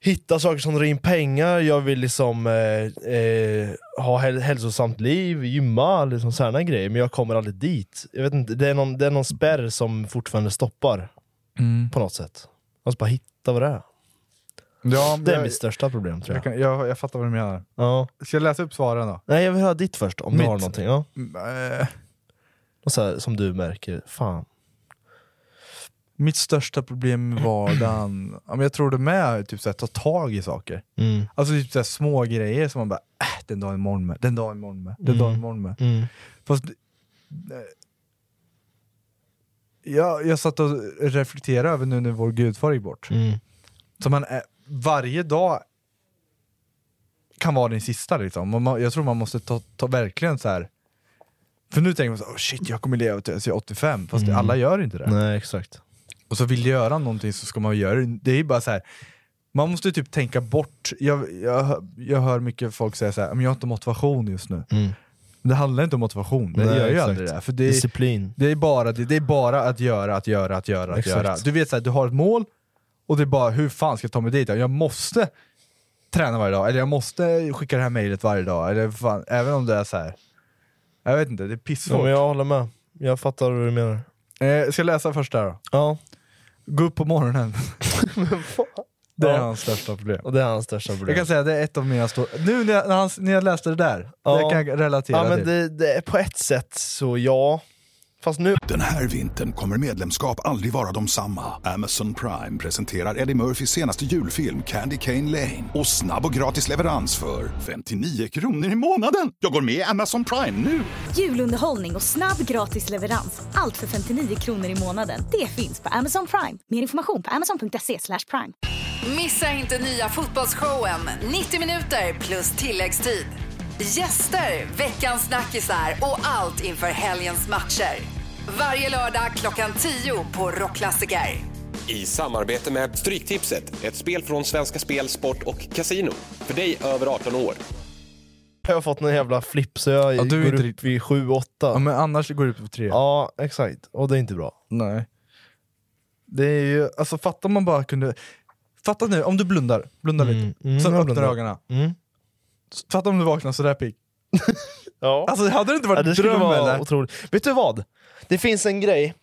[SPEAKER 7] hitta saker som drar in pengar, jag vill liksom eh, eh, ha häl- hälsosamt liv, gymma, liksom sådana grejer. Men jag kommer aldrig dit. Jag vet inte, det, är någon, det är någon spärr som fortfarande stoppar
[SPEAKER 3] Mm.
[SPEAKER 7] på något sätt. Jag måste bara hitta vad det är.
[SPEAKER 3] Ja,
[SPEAKER 7] Det är
[SPEAKER 3] jag,
[SPEAKER 7] mitt största problem tror
[SPEAKER 3] jag,
[SPEAKER 7] jag.
[SPEAKER 3] kan, jag, jag fattar vad du menar.
[SPEAKER 7] Ja.
[SPEAKER 3] Ska jag läsa upp svaren då?
[SPEAKER 7] Nej, jag vill höra ditt först, om du
[SPEAKER 3] Mitt?
[SPEAKER 7] har någonting. Ja.
[SPEAKER 3] Mm, eh,
[SPEAKER 7] Och så här, som du märker, fan.
[SPEAKER 3] Mitt största problem i vardagen, ja, men jag tror det med är typ så här, ta tag i saker.
[SPEAKER 7] Mm.
[SPEAKER 3] Alltså typ så här, små grejer som man bara, äh, den dagen imorgon med, den dagen imorgon med, den dagen imorgon med.
[SPEAKER 7] Mm.
[SPEAKER 3] Fast, eh, jag, jag satt och reflekterade över nu när vår gudfar gick bort.
[SPEAKER 7] Mm.
[SPEAKER 3] Så man är, varje dag kan vara din sista liksom. Och man, jag tror man måste ta, ta verkligen så här. För nu tänker man så här, oh shit jag kommer leva tills jag är 85, fast alla gör inte det.
[SPEAKER 7] Mm, Nej, exakt.
[SPEAKER 3] Och så vill göra någonting så ska man göra det. Det är ju bara så här. man måste typ tänka bort. Jag, jag, hör- jag hör mycket folk säga så här, men jag har inte motivation just nu.
[SPEAKER 7] Mm.
[SPEAKER 3] Men det handlar inte om motivation, det
[SPEAKER 7] Nej,
[SPEAKER 3] gör ju
[SPEAKER 7] exakt.
[SPEAKER 3] aldrig det. För det, är-
[SPEAKER 7] Disciplin.
[SPEAKER 3] det, är bara, det, det är bara att göra, att göra, att göra, att
[SPEAKER 7] Exakt.
[SPEAKER 3] göra. Du vet så här, du har ett mål och det är bara hur fan ska jag ta mig dit? Jag måste träna varje dag, eller jag måste skicka det här mejlet varje dag. Eller fan, även om det är så här. jag vet inte, det är pissvårt.
[SPEAKER 7] Ja, men jag håller med. Jag fattar vad du menar.
[SPEAKER 3] eh, ska jag läsa först där då?
[SPEAKER 7] Ja.
[SPEAKER 3] Gå upp på morgonen. Det är
[SPEAKER 7] Ja.
[SPEAKER 3] hans största problem.
[SPEAKER 7] Och det är hans största problem.
[SPEAKER 3] Jag kan säga att det är ett av mina stora... Nu när jag, när han, när jag läste det där,
[SPEAKER 7] Ja.
[SPEAKER 3] det kan jag relatera
[SPEAKER 7] ja, men
[SPEAKER 3] till.
[SPEAKER 7] det, det är på ett sätt så ja. Fast nu
[SPEAKER 1] Den här vintern kommer medlemskap aldrig vara de samma. Amazon Prime presenterar Eddie Murphys senaste julfilm Candy Cane Lane. Och snabb och gratis leverans för 59 kronor i månaden. Jag går med i Amazon Prime nu!
[SPEAKER 2] Julunderhållning och snabb gratis leverans. Allt för 59 kronor i månaden. Det finns på Amazon Prime. Mer information på amazon.se slash prime.
[SPEAKER 6] Missa inte nya fotbollsshowen 90 minuter plus tilläggstid. Gäster, veckans snackisar och allt inför helgens matcher. Varje lördag klockan 10 på Rockklassiker.
[SPEAKER 4] I samarbete med Stryktipset, ett spel från Svenska Spel, Sport och Casino. För dig över 18 år.
[SPEAKER 7] har jag fått någon jävla flipp så jag
[SPEAKER 3] Ja, du är
[SPEAKER 7] går
[SPEAKER 3] inte
[SPEAKER 7] upp
[SPEAKER 3] riktigt-
[SPEAKER 7] vid 7-8.
[SPEAKER 3] Ja,
[SPEAKER 7] Ja,
[SPEAKER 3] men annars går det upp på tre.
[SPEAKER 7] exakt. Och det är inte bra.
[SPEAKER 3] Nej. Det är ju, alltså fatta om man bara kunde... Fatta nu, om du blundar, blunda lite,
[SPEAKER 7] mm,
[SPEAKER 3] sen öppnar
[SPEAKER 7] jag
[SPEAKER 3] du
[SPEAKER 7] blundar.
[SPEAKER 3] ögonen.
[SPEAKER 7] Mm.
[SPEAKER 3] Fatta om du vaknar sådär pigg.
[SPEAKER 7] Ja.
[SPEAKER 3] Alltså hade det inte
[SPEAKER 7] Ja,
[SPEAKER 3] varit
[SPEAKER 7] det skulle
[SPEAKER 3] dröm
[SPEAKER 7] vara
[SPEAKER 3] eller?
[SPEAKER 7] otroligt. Vet du vad? Det finns en grej,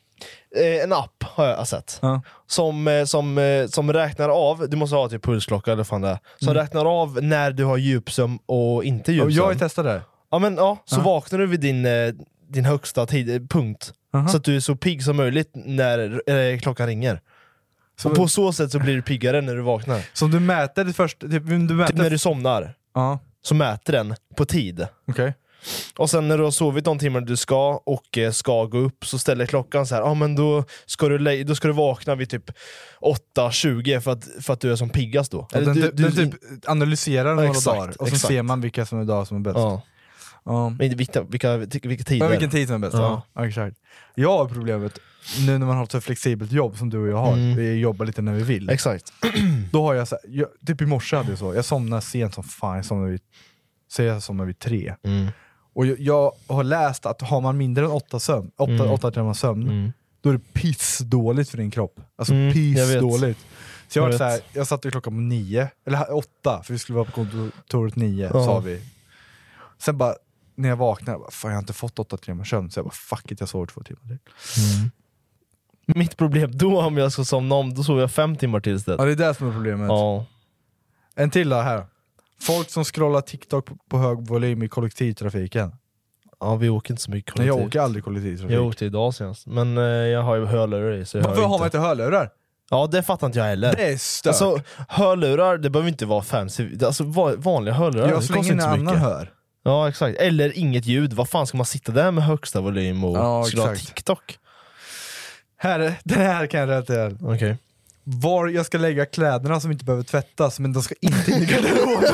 [SPEAKER 7] eh, en app har jag sett,
[SPEAKER 3] Ja.
[SPEAKER 7] som, eh, som, eh, som räknar av, du måste ha typ pulsklocka eller vad fan det är, som räknar av när du har djupsömn och inte
[SPEAKER 3] Mm. Ja,
[SPEAKER 7] djupsömn.
[SPEAKER 3] Jag har ju testat det. här.
[SPEAKER 7] Ja, men, ja, så vaknar du vid din, eh, din högsta tid, eh, punkt. Så att du är så pigg som möjligt när eh, klockan ringer.
[SPEAKER 3] Så-
[SPEAKER 7] och på så sätt så blir du piggare när du vaknar.
[SPEAKER 3] Så om du mäter det först, typ, om du mäter...
[SPEAKER 7] Typ när du somnar,
[SPEAKER 3] Ja,
[SPEAKER 7] så mäter den på tid.
[SPEAKER 3] okej.
[SPEAKER 7] Och sen när du har sovit de timmar du ska och eh, ska gå upp så ställer klockan så här, ah, men då, ska du, lä- då ska du vakna vid typ 8.20 för att, för att du är som piggast då.
[SPEAKER 3] Den,
[SPEAKER 7] du,
[SPEAKER 3] typ- den typ analyserar några
[SPEAKER 7] exakt,
[SPEAKER 3] dagar, och så
[SPEAKER 7] exakt.
[SPEAKER 3] ser man vilka som är dagar som är bäst.
[SPEAKER 7] ja.
[SPEAKER 3] Ja.
[SPEAKER 7] Men vilka, vilka, vilka tider?
[SPEAKER 3] Ja, vilken tid som är bäst.
[SPEAKER 7] Ja.
[SPEAKER 3] Ja. exakt. Jag har problemet, nu när man har ett så flexibelt jobb som du och jag har, vi jobbar lite när vi vill.
[SPEAKER 7] Mm. Exakt.
[SPEAKER 3] Då har jag, så här, jag Typ i morse hade jag så, jag somnade sent som fan, jag somnade vid, säg jag somnade vid tre.
[SPEAKER 7] Mm.
[SPEAKER 1] Mm.
[SPEAKER 3] Och jag, jag har läst att har man mindre än åtta, sömn, åtta, åtta timmar sömn, då är det pissdåligt för din kropp. Alltså
[SPEAKER 1] Mm, jag vet.
[SPEAKER 3] pissdåligt. Så jag,
[SPEAKER 1] Jag
[SPEAKER 3] var så
[SPEAKER 1] vet.
[SPEAKER 3] här, jag satt ju klockan på nio, eller åtta, för vi skulle vara på kontoret nio,
[SPEAKER 1] Ja.
[SPEAKER 3] sa vi. Sen bara, när jag vaknade, jag bara, fan jag har inte fått åtta timmars sömn, så jag bara fuck it, jag sover två timmar till.
[SPEAKER 1] Mitt problem då om jag ska somna om, då sover jag fem timmar till istället.
[SPEAKER 3] Ja det är det som är problemet.
[SPEAKER 1] Ja.
[SPEAKER 3] En till då här. Folk som scrollar TikTok på, på hög volym i kollektivtrafiken.
[SPEAKER 1] Ja, vi åker inte så mycket
[SPEAKER 3] Nej, jag
[SPEAKER 1] kollektivt.
[SPEAKER 3] åker aldrig kollektivtrafik.
[SPEAKER 1] Jag åkte idag senast, men eh, jag har ju hörlurar i så jag
[SPEAKER 3] Varför
[SPEAKER 1] hör
[SPEAKER 3] har man inte hörlurar?
[SPEAKER 1] Ja det fattar inte jag heller.
[SPEAKER 3] Det är stört.
[SPEAKER 1] Alltså hörlurar, det behöver inte vara fancy, alltså va- vanliga hörlurar,
[SPEAKER 3] Ja,
[SPEAKER 1] det
[SPEAKER 3] så
[SPEAKER 1] kostar
[SPEAKER 3] länge
[SPEAKER 1] inte så
[SPEAKER 3] ingen
[SPEAKER 1] mycket.
[SPEAKER 3] annan hör.
[SPEAKER 1] Ja exakt, eller inget ljud, vad fan ska man sitta där med högsta volym och
[SPEAKER 3] Ja,
[SPEAKER 1] skulle ha
[SPEAKER 3] exakt.
[SPEAKER 1] TikTok?
[SPEAKER 3] Här, den här kan jag relatera till.
[SPEAKER 1] Okej.
[SPEAKER 3] Var jag ska lägga kläderna som inte behöver tvättas, men de ska inte in i garderoben.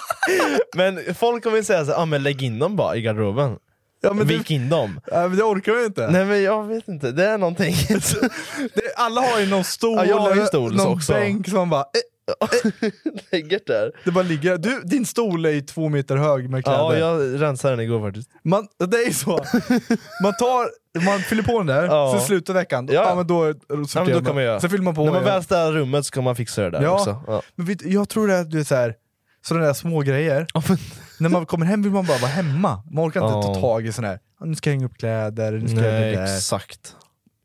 [SPEAKER 1] Men folk kommer ju säga såhär, ah, men lägg in dem bara i garderoben.
[SPEAKER 3] Ja, men det-
[SPEAKER 1] Vik in dem.
[SPEAKER 3] Nej, men det orkar jag inte.
[SPEAKER 1] Nej men jag vet inte, det är någonting.
[SPEAKER 3] Det, alla har ju någon stol,
[SPEAKER 1] Ja, jag har ju
[SPEAKER 3] eller
[SPEAKER 1] stol
[SPEAKER 3] någon
[SPEAKER 1] också.
[SPEAKER 3] bänk som bara... Eh,
[SPEAKER 1] Lägget där.
[SPEAKER 3] det bara ligger. Du, din stol är ju två meter hög med kläder.
[SPEAKER 1] Ja, jag rensade den igår faktiskt.
[SPEAKER 3] Man, det är ju så. Man, tar, man fyller på den där,
[SPEAKER 1] Ja.
[SPEAKER 3] sen slutar veckan.
[SPEAKER 1] Ja.
[SPEAKER 3] Ja. men då, då
[SPEAKER 1] Ja,
[SPEAKER 3] sorterar
[SPEAKER 1] men då kan man göra.
[SPEAKER 3] Sen fyller man på.
[SPEAKER 1] När man
[SPEAKER 3] igen.
[SPEAKER 1] väl städar rummet så kan man fixa det där
[SPEAKER 3] Ja.
[SPEAKER 1] också. Ja.
[SPEAKER 3] Men vet, du, jag tror det är, du är så här, sådana där små grejer. När man kommer hem vill man bara vara hemma. Man orkar inte
[SPEAKER 1] Ja.
[SPEAKER 3] ta tag i sådana här, "Ah, nu ska jag hänga upp kläder, nu ska jag
[SPEAKER 1] Nej,
[SPEAKER 3] göra det där.
[SPEAKER 1] exakt.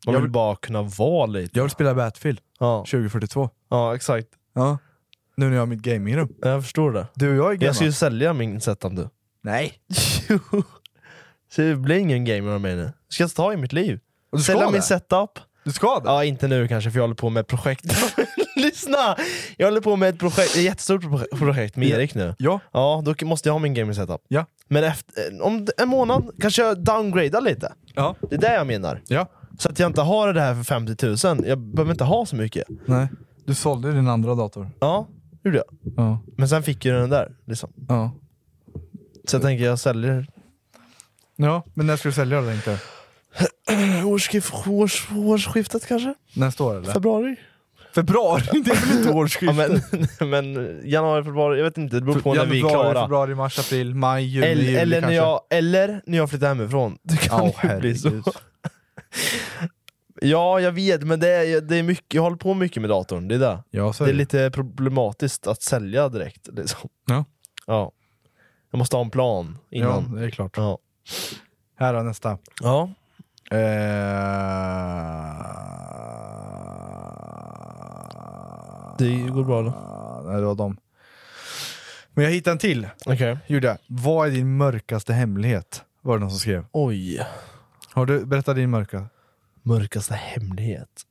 [SPEAKER 1] Man
[SPEAKER 3] Jag
[SPEAKER 1] vill
[SPEAKER 3] vill-
[SPEAKER 1] bara kunna vara lite.
[SPEAKER 3] Jag vill spela Battlefield
[SPEAKER 1] Ja,
[SPEAKER 3] 2042.
[SPEAKER 1] ja exakt.
[SPEAKER 3] Ja. Nu när jag har mitt gamingrum.
[SPEAKER 1] Jag förstår det.
[SPEAKER 3] Du och jag är gamla.
[SPEAKER 1] Jag ska ju sälja min setup nu.
[SPEAKER 3] Nej.
[SPEAKER 1] Jo. Så det blir ingen gamer av mig nu. Ska jag ta i mitt liv?
[SPEAKER 3] Och du ska
[SPEAKER 1] Sälja
[SPEAKER 3] det?
[SPEAKER 1] min setup?
[SPEAKER 3] Du ska det?
[SPEAKER 1] Ja, inte nu kanske för jag håller på med ett projekt. Lyssna! Jag håller på med ett projekt, ett jättestort proje- projekt med Erik nu.
[SPEAKER 3] Ja.
[SPEAKER 1] Ja, då k- måste jag ha min gaming setup.
[SPEAKER 3] Ja.
[SPEAKER 1] Men efter, eh, om d- en månad kanske jag downgradar lite.
[SPEAKER 3] Ja.
[SPEAKER 1] Det är det jag menar.
[SPEAKER 3] ja.
[SPEAKER 1] Så att jag inte har det här för 50 000. Jag behöver inte ha så mycket.
[SPEAKER 3] Nej. Du sålde din andra dator.
[SPEAKER 1] Ja, det gjorde jag.
[SPEAKER 3] Ja.
[SPEAKER 1] Men sen fick jag den där. Liksom.
[SPEAKER 3] Ja.
[SPEAKER 1] Så jag tänker jag säljer.
[SPEAKER 3] Ja, men när ska du sälja det tänkte jag?
[SPEAKER 1] Årsskif- års- årsskiftet kanske?
[SPEAKER 3] Nästa år eller?
[SPEAKER 1] Februari?
[SPEAKER 3] Februari? Det är väl inte
[SPEAKER 1] Ja,
[SPEAKER 3] årsskiftet?
[SPEAKER 1] men, men januari, februari, jag vet inte. Det beror på när vi är
[SPEAKER 3] Januari,
[SPEAKER 1] klara.
[SPEAKER 3] februari, mars, april, maj, juni,
[SPEAKER 1] Eller,
[SPEAKER 3] juli
[SPEAKER 1] eller, när
[SPEAKER 3] kanske.
[SPEAKER 1] jag, eller när jag flyttar hemifrån. Det kan
[SPEAKER 3] Ja,
[SPEAKER 1] ju bli så.
[SPEAKER 3] herregud.
[SPEAKER 1] Ja, jag vet, men det är, det är mycket, jag håller på mycket med datorn. Det är, det.
[SPEAKER 3] Ja, så
[SPEAKER 1] det är
[SPEAKER 3] det.
[SPEAKER 1] lite problematiskt att sälja direkt. Liksom.
[SPEAKER 3] Ja.
[SPEAKER 1] Ja. Jag måste ha en plan
[SPEAKER 3] Ja,
[SPEAKER 1] innan.
[SPEAKER 3] det är klart.
[SPEAKER 1] Ja.
[SPEAKER 3] Här då, nästa.
[SPEAKER 1] Ja.
[SPEAKER 3] Eh...
[SPEAKER 1] Det går bra då.
[SPEAKER 3] Nej, det var dem. Men jag hittade en till.
[SPEAKER 1] Okej.
[SPEAKER 3] Gjorde jag. Vad är din mörkaste hemlighet? Var det någon som skrev.
[SPEAKER 1] Oj.
[SPEAKER 3] Har du berättat din mörka?
[SPEAKER 1] Mörkaste hemlighet?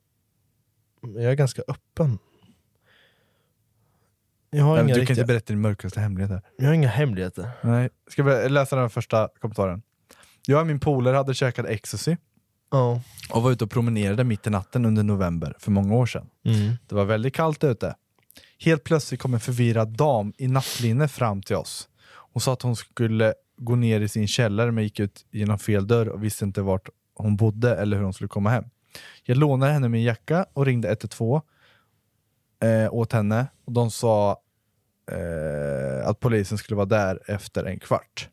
[SPEAKER 1] Jag är ganska öppen. Jag har,
[SPEAKER 3] Nej, men
[SPEAKER 1] inga,
[SPEAKER 3] du kan
[SPEAKER 1] riktiga,
[SPEAKER 3] inte berätta din mörkaste hemlighet här.
[SPEAKER 1] jag har inga hemligheter.
[SPEAKER 3] Nej. Ska jag läsa den första kommentaren? Jag och min polare hade käkat ecstasy
[SPEAKER 1] Ja.
[SPEAKER 3] och var ute och promenerade mitt i natten under november för många år sedan.
[SPEAKER 1] Mm.
[SPEAKER 3] Det var väldigt kallt ute. Helt plötsligt kom en förvirrad dam i nattlinne fram till oss. Hon sa att hon skulle gå ner i sin källare men gick ut genom fel dörr och visste inte vart hon bodde eller hur hon skulle komma hem. Jag lånade henne min jacka och ringde 112 eh, åt henne och de sa eh, att polisen skulle vara där efter en kvart.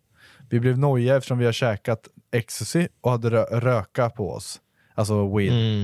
[SPEAKER 3] Vi blev nojiga eftersom vi har käkat ecstasy och hade rö- röka på oss. Alltså weed.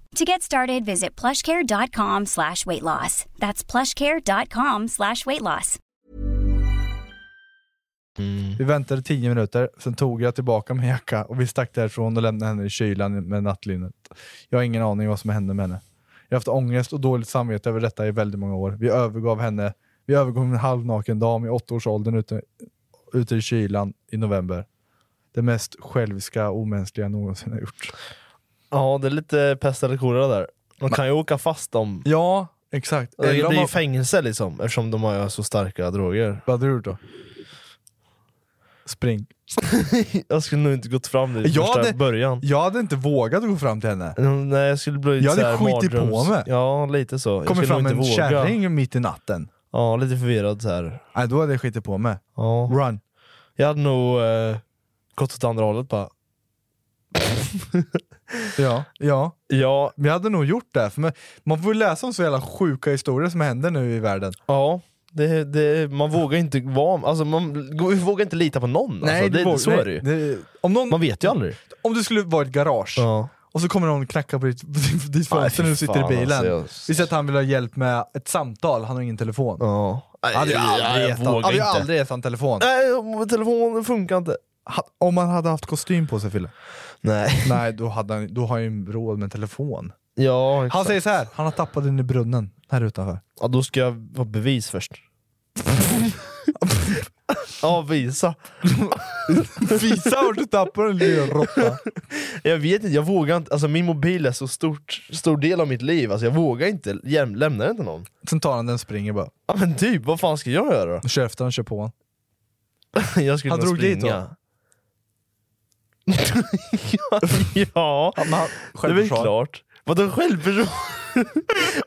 [SPEAKER 8] To get started, visit plushcare.com slash weight loss. That's plushcare.com slash weight loss.
[SPEAKER 1] Mm.
[SPEAKER 3] Vi väntade 10 minuter, sen tog jag tillbaka min jacka och vi stack därifrån och lämnade henne i kylan med nattlinnet. Jag har ingen aning vad som hände med henne. Jag har haft ångest och dåligt samvete över detta i väldigt många år. Vi övergav henne. Vi övergav en halvnaken dam i åttaårsåldern ute, ute i kylan i november. Det mest själviska och omänskliga jag någonsin har gjort.
[SPEAKER 1] Ja, det är lite pest eller kolera där. De kan ju åka fast dem.
[SPEAKER 3] Ja, exakt.
[SPEAKER 1] Det
[SPEAKER 3] Eller om
[SPEAKER 1] blir ju
[SPEAKER 3] man-
[SPEAKER 1] fängelse liksom, eftersom de har så starka droger.
[SPEAKER 3] Vad hade du gjort då? Spring.
[SPEAKER 1] jag skulle nog inte gått fram dit i
[SPEAKER 3] Jag
[SPEAKER 1] första
[SPEAKER 3] hade-
[SPEAKER 1] början. Mm,
[SPEAKER 3] Jag hade inte vågat gå fram till henne.
[SPEAKER 1] Nej, jag skulle bli
[SPEAKER 3] Jag hade
[SPEAKER 1] så här
[SPEAKER 3] skitit på
[SPEAKER 1] mardröms-
[SPEAKER 3] mig.
[SPEAKER 1] Ja, lite så. Jag
[SPEAKER 3] Kommer
[SPEAKER 1] skulle
[SPEAKER 3] fram
[SPEAKER 1] nog
[SPEAKER 3] en
[SPEAKER 1] inte våga.
[SPEAKER 3] kärring mitt i natten.
[SPEAKER 1] Ja, lite förvirrad så här.
[SPEAKER 3] Nej, då hade jag skitit på mig.
[SPEAKER 1] Ja.
[SPEAKER 3] Run.
[SPEAKER 1] Jag hade nog eh, gått åt andra hållet bara.
[SPEAKER 3] Ja, ja. ja. Men jag hade nog gjort det. För man, man får ju läsa om så jävla sjuka historier som händer nu i världen.
[SPEAKER 1] Ja, det, det, man vågar ju inte vara, alltså man vågar inte lita på någon.
[SPEAKER 3] Nej,
[SPEAKER 1] alltså,
[SPEAKER 3] du
[SPEAKER 1] det,
[SPEAKER 3] vågar-
[SPEAKER 1] så
[SPEAKER 3] nej,
[SPEAKER 1] är det ju.
[SPEAKER 3] det- om någon,
[SPEAKER 1] Man vet ju aldrig.
[SPEAKER 3] Om du skulle vara i ett garage och så kommer någon knacka på ditt, på ditt ditt
[SPEAKER 1] Nej,
[SPEAKER 3] fönster
[SPEAKER 1] fy
[SPEAKER 3] när du sitter i
[SPEAKER 1] fan,
[SPEAKER 3] bilen.
[SPEAKER 1] alltså, jag-
[SPEAKER 3] Vi säger att han vill ha hjälp med ett samtal, han har ingen telefon.
[SPEAKER 1] Ja.
[SPEAKER 3] Jag hade ju
[SPEAKER 1] Nej, jag-
[SPEAKER 3] aldrig
[SPEAKER 1] jag
[SPEAKER 3] gett han-
[SPEAKER 1] vågar
[SPEAKER 3] hade ju
[SPEAKER 1] inte.
[SPEAKER 3] aldrig gett han telefon.
[SPEAKER 1] Nej, om- telefonen funkar inte.
[SPEAKER 3] Ha- Om han hade haft kostym på sig Fille,
[SPEAKER 1] Nej.
[SPEAKER 3] nej, då, hade han, då har han ju råd med en telefon.
[SPEAKER 1] Ja,
[SPEAKER 3] Han
[SPEAKER 1] exakt.
[SPEAKER 3] säger så här, han har tappat den i brunnen här utanför.
[SPEAKER 1] Ja, då ska jag ha bevis först. ja, visa.
[SPEAKER 3] Visa vart du tappade den lilla råtta.
[SPEAKER 1] Jag vet inte, jag vågar inte. Alltså min mobil är så stort, stor del av mitt liv. Alltså jag vågar inte jäm- lämna den till någon.
[SPEAKER 3] Sen tar han den och springer bara.
[SPEAKER 1] Ja men typ, vad fan ska jag göra då?
[SPEAKER 3] Kör efter han kör på honom.
[SPEAKER 1] Jag skulle
[SPEAKER 3] Han
[SPEAKER 1] nog
[SPEAKER 3] drog dit
[SPEAKER 1] springa. ja,
[SPEAKER 3] men han-
[SPEAKER 1] det är väl
[SPEAKER 3] självförsvar.
[SPEAKER 1] klart. Vadå självförsvar?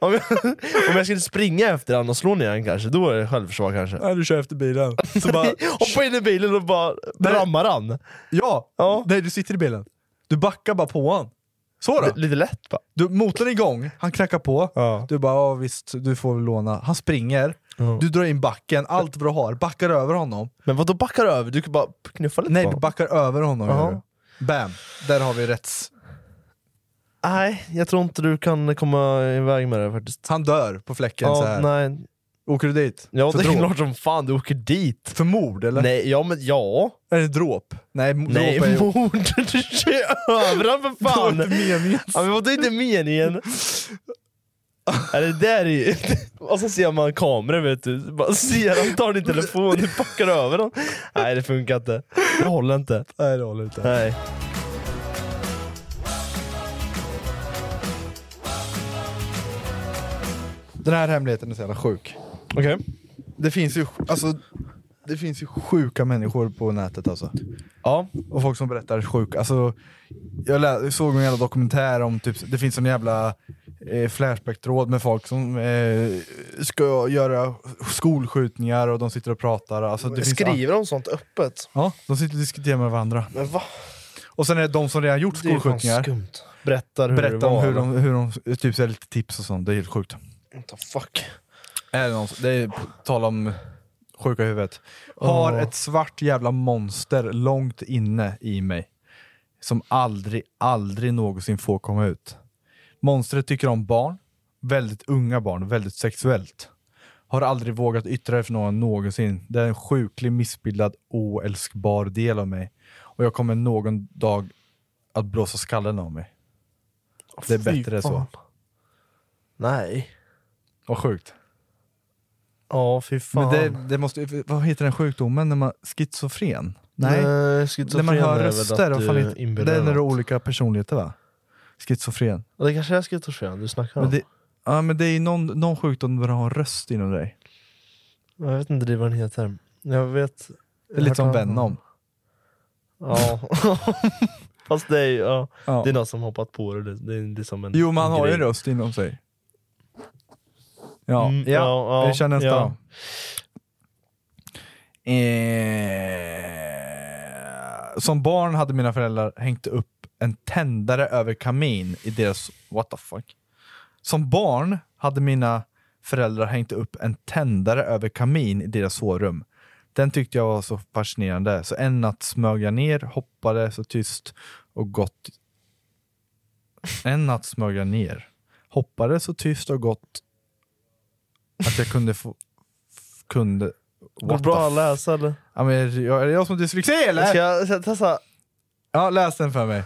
[SPEAKER 1] om, jag, om jag skulle springa efter honom och slå ner honom kanske, då är det självförsvar kanske.
[SPEAKER 3] Nej, du kör efter bilen. Så bara,
[SPEAKER 1] Hoppa in i bilen och bara rammar han.
[SPEAKER 3] ja,
[SPEAKER 1] Ja.
[SPEAKER 3] nej du sitter i bilen. Du backar bara på honom. Så då.
[SPEAKER 1] L- Lite lätt bara.
[SPEAKER 3] Du, motorn är igång, han knackar på.
[SPEAKER 1] Ja.
[SPEAKER 3] Du bara ja visst, du får väl låna. Han springer, du drar in backen, allt vad du har, backar över honom.
[SPEAKER 1] Men vadå backar över? Du kan bara knuffa lite
[SPEAKER 3] Nej,
[SPEAKER 1] på
[SPEAKER 3] du
[SPEAKER 1] honom.
[SPEAKER 3] backar över honom.
[SPEAKER 1] Ja.
[SPEAKER 3] gör du. Bam, där har vi rätts...
[SPEAKER 1] Nej, jag tror inte du kan komma iväg med det faktiskt.
[SPEAKER 3] Han dör på fläcken så här.
[SPEAKER 1] nej.
[SPEAKER 3] Åker du dit?
[SPEAKER 1] Ja,
[SPEAKER 3] För
[SPEAKER 1] det är
[SPEAKER 3] dråp?
[SPEAKER 1] klart som fan du åker dit.
[SPEAKER 3] För mord eller?
[SPEAKER 1] Nej, ja men ja.
[SPEAKER 3] Är det dråp? Nej, m-
[SPEAKER 1] Nej,
[SPEAKER 3] dråp är ju...
[SPEAKER 1] mord! Du kör över han för
[SPEAKER 3] Det var
[SPEAKER 1] fan!
[SPEAKER 3] inte meningen.
[SPEAKER 1] Ja, men vadå inte meningen? Ja, det där är ju... Och så ser man kameran vet du, bara ser han tar din telefon, du packar över den. Nej det funkar inte. Det håller inte.
[SPEAKER 3] Nej, det håller inte.
[SPEAKER 1] Nej.
[SPEAKER 3] Den här hemligheten är så jävla sjuk.
[SPEAKER 1] Okej.
[SPEAKER 3] Det finns ju, alltså, det finns ju sjuka människor på nätet alltså.
[SPEAKER 1] Ja.
[SPEAKER 3] Och folk som berättar sjuka... Alltså, jag, lä- jag såg en jävla dokumentär om, typ, det finns en jävla eh, Flashback-tråd med folk som eh, ska göra skolskjutningar och de sitter och pratar. Alltså, det finns-
[SPEAKER 1] Skriver de sånt öppet?
[SPEAKER 3] Ja, de sitter och diskuterar med varandra.
[SPEAKER 1] Men va?
[SPEAKER 3] Och sen är det de som redan gjort
[SPEAKER 1] Det är ju fan
[SPEAKER 3] skolskjutningar.
[SPEAKER 1] skumt. Berättar hur det
[SPEAKER 3] Berättar
[SPEAKER 1] var.
[SPEAKER 3] om hur de, hur de typ, så här, lite tips och sånt. Det är helt sjukt.
[SPEAKER 1] What the fuck?
[SPEAKER 3] Är det, någon, som- det är på tal om sjuka i huvudet. Har
[SPEAKER 1] Åh.
[SPEAKER 3] ett svart jävla monster långt inne i mig. Som aldrig, aldrig någonsin får komma ut. Monstret tycker om barn, väldigt unga barn, väldigt sexuellt. Har aldrig vågat yttra det för någon någonsin. Det är en sjuklig, missbildad, oälskbar del av mig. Och jag kommer någon dag att blåsa skallen av mig. Det är
[SPEAKER 1] Fy
[SPEAKER 3] bättre så.
[SPEAKER 1] fan. Nej.
[SPEAKER 3] Vad sjukt.
[SPEAKER 1] Ja, fy
[SPEAKER 3] Men
[SPEAKER 1] fan.
[SPEAKER 3] det, det måste, vad heter den sjukdomen? När man, schizofren? När man hör röster, vad fan heter- det är när du har olika personligheter va? Schizofren.
[SPEAKER 1] Det kanske är schizofren du snackar
[SPEAKER 3] Men
[SPEAKER 1] om.
[SPEAKER 3] det, ja, men det är ju någon, någon sjukdom där du har en röst inom dig.
[SPEAKER 1] Jag vet inte vad den heter. Jag vet...
[SPEAKER 3] Det är lite som Venom.
[SPEAKER 1] Ja. Fast det är, ju- ja.
[SPEAKER 3] Ja.
[SPEAKER 1] det är någon som hoppat på det. det. Det är liksom en,
[SPEAKER 3] Jo, man
[SPEAKER 1] en
[SPEAKER 3] har ju
[SPEAKER 1] grej.
[SPEAKER 3] en röst inom sig. Ja,
[SPEAKER 1] Mm,
[SPEAKER 3] ja,
[SPEAKER 1] ja, ja,
[SPEAKER 3] vi kör nästa.
[SPEAKER 1] ja.
[SPEAKER 3] Eh, som barn hade mina föräldrar hängt upp en tändare över kamin i deras... What the fuck? Som barn hade mina föräldrar hängt upp en tändare över kamin i deras sovrum. Den tyckte jag var så fascinerande, så en natt smög jag ner, hoppade så tyst och gott en natt smög jag ner, hoppade så tyst och gott att jag kunde få... f- Kunde...
[SPEAKER 1] Går
[SPEAKER 3] What
[SPEAKER 1] det
[SPEAKER 3] the
[SPEAKER 1] bra att
[SPEAKER 3] f-
[SPEAKER 1] läsa eller?
[SPEAKER 3] Ja, men, är det jag, är det jag som har dyslexi eller?
[SPEAKER 1] Ska jag, ska jag testa?
[SPEAKER 3] Ja, läs den för mig.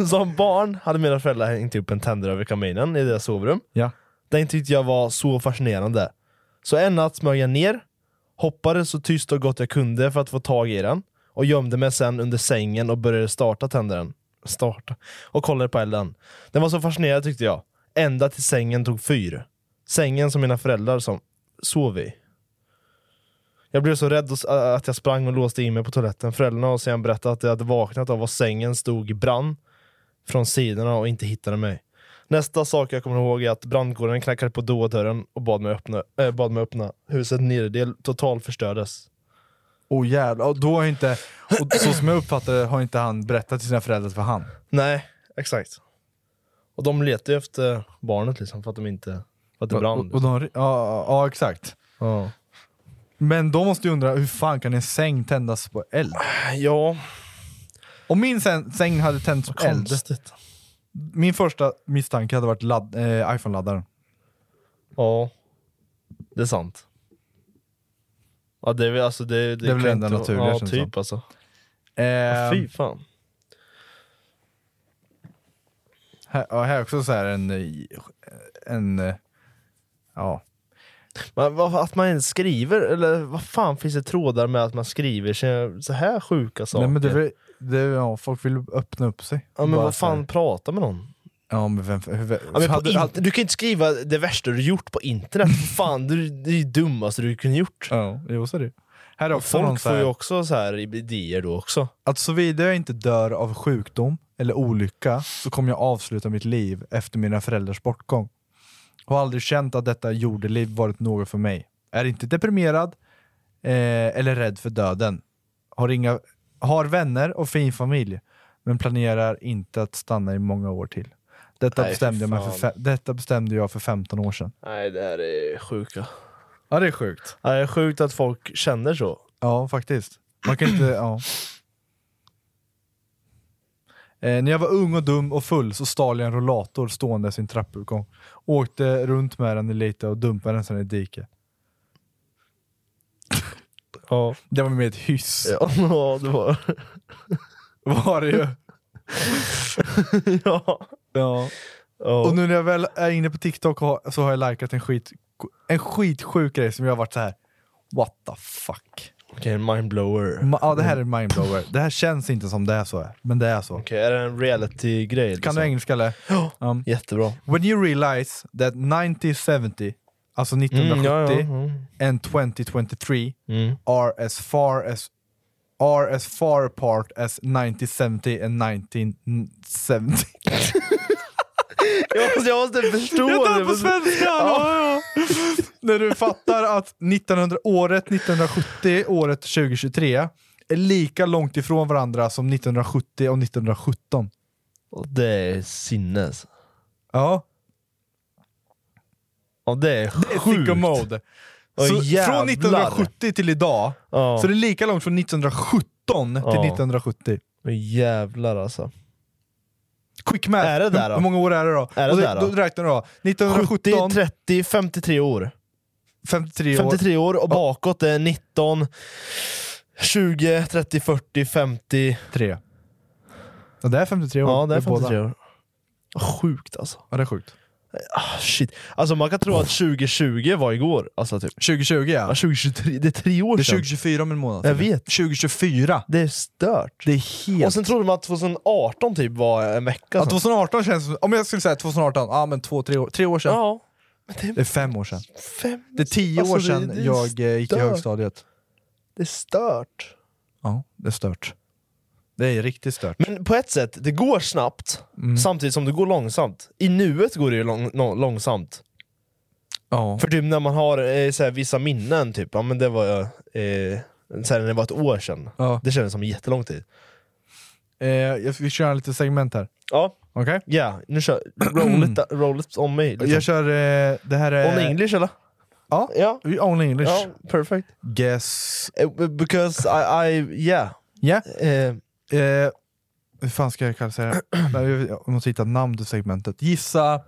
[SPEAKER 3] Som barn hade mina föräldrar hängt upp en tändare över kaminen i deras sovrum.
[SPEAKER 1] Ja.
[SPEAKER 3] Den tyckte jag var så fascinerande. Så en natt smög jag ner, hoppade så tyst och gott jag kunde för att få tag i den, och gömde mig sen under sängen och började starta tändaren. Starta? Och kollade på elden. Den var så fascinerande tyckte jag. Ända till sängen tog fyr. Sängen som mina föräldrar som sov i. Jag blev så rädd och s- att jag sprang och låste in mig på toaletten. Föräldrarna har sedan berättat att jag hade vaknat av att sängen stod i brand från sidorna och inte hittade mig. Nästa sak jag kommer ihåg är att brandkåren knackade på dörren och bad mig öppna. Äh, bad mig öppna. Huset nederdel totalförstördes.
[SPEAKER 1] Åh oh, jävlar, och då har inte, och så som jag uppfattar det har inte han berättat till sina föräldrar att det var han.
[SPEAKER 3] Nej, exakt. Och de letar ju efter barnet liksom för att de inte... För att det brann.
[SPEAKER 1] Och, och de, ja, ja, ja, exakt. Men då måste jag undra, hur fan kan en säng tändas på eld?
[SPEAKER 3] Ja.
[SPEAKER 1] Om min säng, säng hade tänts på eld,
[SPEAKER 3] konstigt.
[SPEAKER 1] min första misstanke hade varit ladd, eh, iPhone-laddaren.
[SPEAKER 3] Ja, det är sant. Ja, det är väl alltså... Det, det,
[SPEAKER 1] Det är väl
[SPEAKER 3] kan
[SPEAKER 1] enda
[SPEAKER 3] inte-
[SPEAKER 1] naturliga,
[SPEAKER 3] Ja,
[SPEAKER 1] känns det
[SPEAKER 3] typ
[SPEAKER 1] som.
[SPEAKER 3] alltså.
[SPEAKER 1] Eh,
[SPEAKER 3] Fy fan.
[SPEAKER 1] Här, ja, här också så här en... eh, en eh, ja.
[SPEAKER 3] Men vad- att man ens skriver, eller vad fan finns det trådar med att man skriver så- så här sjuka saker?
[SPEAKER 1] Nej, men det, är väl- det, är- ja, folk vill öppna upp sig.
[SPEAKER 3] ja, men
[SPEAKER 1] Bara
[SPEAKER 3] vad
[SPEAKER 1] så här.
[SPEAKER 3] fan, prata med någon.
[SPEAKER 1] Ja, men vem, hur, hur,
[SPEAKER 3] Ja, men på
[SPEAKER 1] hade-
[SPEAKER 3] in-
[SPEAKER 1] hade-
[SPEAKER 3] Du kan ju inte skriva det värsta du gjort på internet. fan, du, det är ju dummaste du kunde gjort.
[SPEAKER 1] Ja, jo, så är det. Här är
[SPEAKER 3] Och
[SPEAKER 1] också någon
[SPEAKER 3] Folk
[SPEAKER 1] så
[SPEAKER 3] får
[SPEAKER 1] här-
[SPEAKER 3] ju också så här idéer då också.
[SPEAKER 1] Att såvida jag inte dör av sjukdom eller olycka så kommer jag avsluta mitt liv efter mina föräldrars bortgång. Jag har aldrig känt att detta jordeliv varit något för mig. Är inte deprimerad eh, eller rädd för döden. Har, inga, har vänner och fin familj men planerar inte att stanna i många år till. Detta,
[SPEAKER 3] Nej, fy
[SPEAKER 1] bestämde, jag mig för
[SPEAKER 3] fan.
[SPEAKER 1] fe- detta bestämde jag för 15 år sedan.
[SPEAKER 3] Nej, det här är sjuka.
[SPEAKER 1] Ja, det är sjukt.
[SPEAKER 3] Det är sjukt att folk känner så.
[SPEAKER 1] Ja, faktiskt. Man kan inte, ja. Eh, när jag var ung och dum och full så stal jag en rollator stående i sin trappuppgång. Åkte runt med den lite och dumpade den sen i diket.
[SPEAKER 3] Ja,
[SPEAKER 1] Det var med ett hyss.
[SPEAKER 3] ja, ja det var
[SPEAKER 1] Var det ju.
[SPEAKER 3] ja.
[SPEAKER 1] Ja.
[SPEAKER 3] Ja.
[SPEAKER 1] Och nu när jag väl är inne på TikTok och har- så har jag likat en, skit, en skitsjuk grej som jag har varit så här. What the fuck?
[SPEAKER 3] Okej, en mindblower.
[SPEAKER 1] Ma- ja, det här är mindblower. Det här känns inte som det är så, här, men det är så.
[SPEAKER 3] Okej, är det en reality-grej? liksom?
[SPEAKER 1] Kan du engelska eller?
[SPEAKER 3] Ja,
[SPEAKER 1] Um,
[SPEAKER 3] jättebra.
[SPEAKER 1] When you realize that 1970, alltså
[SPEAKER 3] Mm,
[SPEAKER 1] 1970 and 2023
[SPEAKER 3] Mm.
[SPEAKER 1] are as far as are as far apart as 1970 and 1970.
[SPEAKER 3] Jag måste, jag måste förstå
[SPEAKER 1] Jag tar
[SPEAKER 3] det.
[SPEAKER 1] på svenska! ja, ja. När du fattar att 1900, året 1970 året 2023 är lika långt ifrån varandra som 1970 och 1917.
[SPEAKER 3] Och Det är sinnes.
[SPEAKER 1] Ja,
[SPEAKER 3] Ja, det är sjukt.
[SPEAKER 1] det är sicko mode.
[SPEAKER 3] Åh,
[SPEAKER 1] Så
[SPEAKER 3] jävlar.
[SPEAKER 1] från 1970 till idag
[SPEAKER 3] Ja.
[SPEAKER 1] Så det är lika långt från 1917 till
[SPEAKER 3] Ja.
[SPEAKER 1] 1970.
[SPEAKER 3] Åh, jävlar alltså.
[SPEAKER 1] Quick math!
[SPEAKER 3] Är det där
[SPEAKER 1] hur,
[SPEAKER 3] då?
[SPEAKER 1] hur många år är det då?
[SPEAKER 3] Är det
[SPEAKER 1] Och
[SPEAKER 3] där då?
[SPEAKER 1] då räknar du då. 1917,
[SPEAKER 3] 70, 30, 53 år.
[SPEAKER 1] 53 år.
[SPEAKER 3] 53 år och bakåt är 19, 20, 30, 40, 50.
[SPEAKER 1] Tre. Ja, det är 53 år.
[SPEAKER 3] Ja, det är
[SPEAKER 1] båda.
[SPEAKER 3] 53 år. Åh, Sjukt alltså.
[SPEAKER 1] Ja, det är sjukt.
[SPEAKER 3] Ah, shit. Alltså man kan tro att 2020 var igår. Alltså typ.
[SPEAKER 1] 2020 ja.
[SPEAKER 3] Ja, 2023, det är tre år
[SPEAKER 1] Det är
[SPEAKER 3] sedan.
[SPEAKER 1] 2024 om en månad.
[SPEAKER 3] Jag vet.
[SPEAKER 1] 2024.
[SPEAKER 3] Det är stört.
[SPEAKER 1] Det är helt...
[SPEAKER 3] Och sen trodde man att 2018 typ var en vecka
[SPEAKER 1] ja,
[SPEAKER 3] sedan.
[SPEAKER 1] 2018 känns som... Om jag skulle säga 2018, ja men två, tre år, tre år sedan.
[SPEAKER 3] Ja. Men det
[SPEAKER 1] Det
[SPEAKER 3] är
[SPEAKER 1] är fem år sedan.
[SPEAKER 3] fem...
[SPEAKER 1] Det är tio
[SPEAKER 3] Alltså,
[SPEAKER 1] år
[SPEAKER 3] det-
[SPEAKER 1] sedan
[SPEAKER 3] det är
[SPEAKER 1] jag eh, gick i
[SPEAKER 3] stört.
[SPEAKER 1] högstadiet.
[SPEAKER 3] Det är stört.
[SPEAKER 1] Ja, det är stört. Det är riktigt stört. Mm.
[SPEAKER 3] Men på ett sätt, det går snabbt samtidigt som det går långsamt. I nuet går det ju lång, nå- långsamt.
[SPEAKER 1] Ja.
[SPEAKER 3] För typ när man har eh, såhär, vissa minnen, typ, ja, men det var jag, eh, såhär, när det var ett år sedan.
[SPEAKER 1] Ja.
[SPEAKER 3] Det kändes som jättelång tid.
[SPEAKER 1] Eh, jag vi kör lite segment här.
[SPEAKER 3] Ja,
[SPEAKER 1] Okej?
[SPEAKER 3] ja. Nu kör roll it, roll it on me. Liksom.
[SPEAKER 1] Jag kör eh, det här är...
[SPEAKER 3] On English eller?
[SPEAKER 1] Ja,
[SPEAKER 3] Ja.
[SPEAKER 1] only English.
[SPEAKER 3] Ja, perfect.
[SPEAKER 1] Guess...
[SPEAKER 3] Eh, Because I, I yeah.
[SPEAKER 1] Yeah.
[SPEAKER 3] Eh,
[SPEAKER 1] Eh, hur fan ska jag kalla det? Nej, Jag måste hitta ett namn till segmentet. Gissa...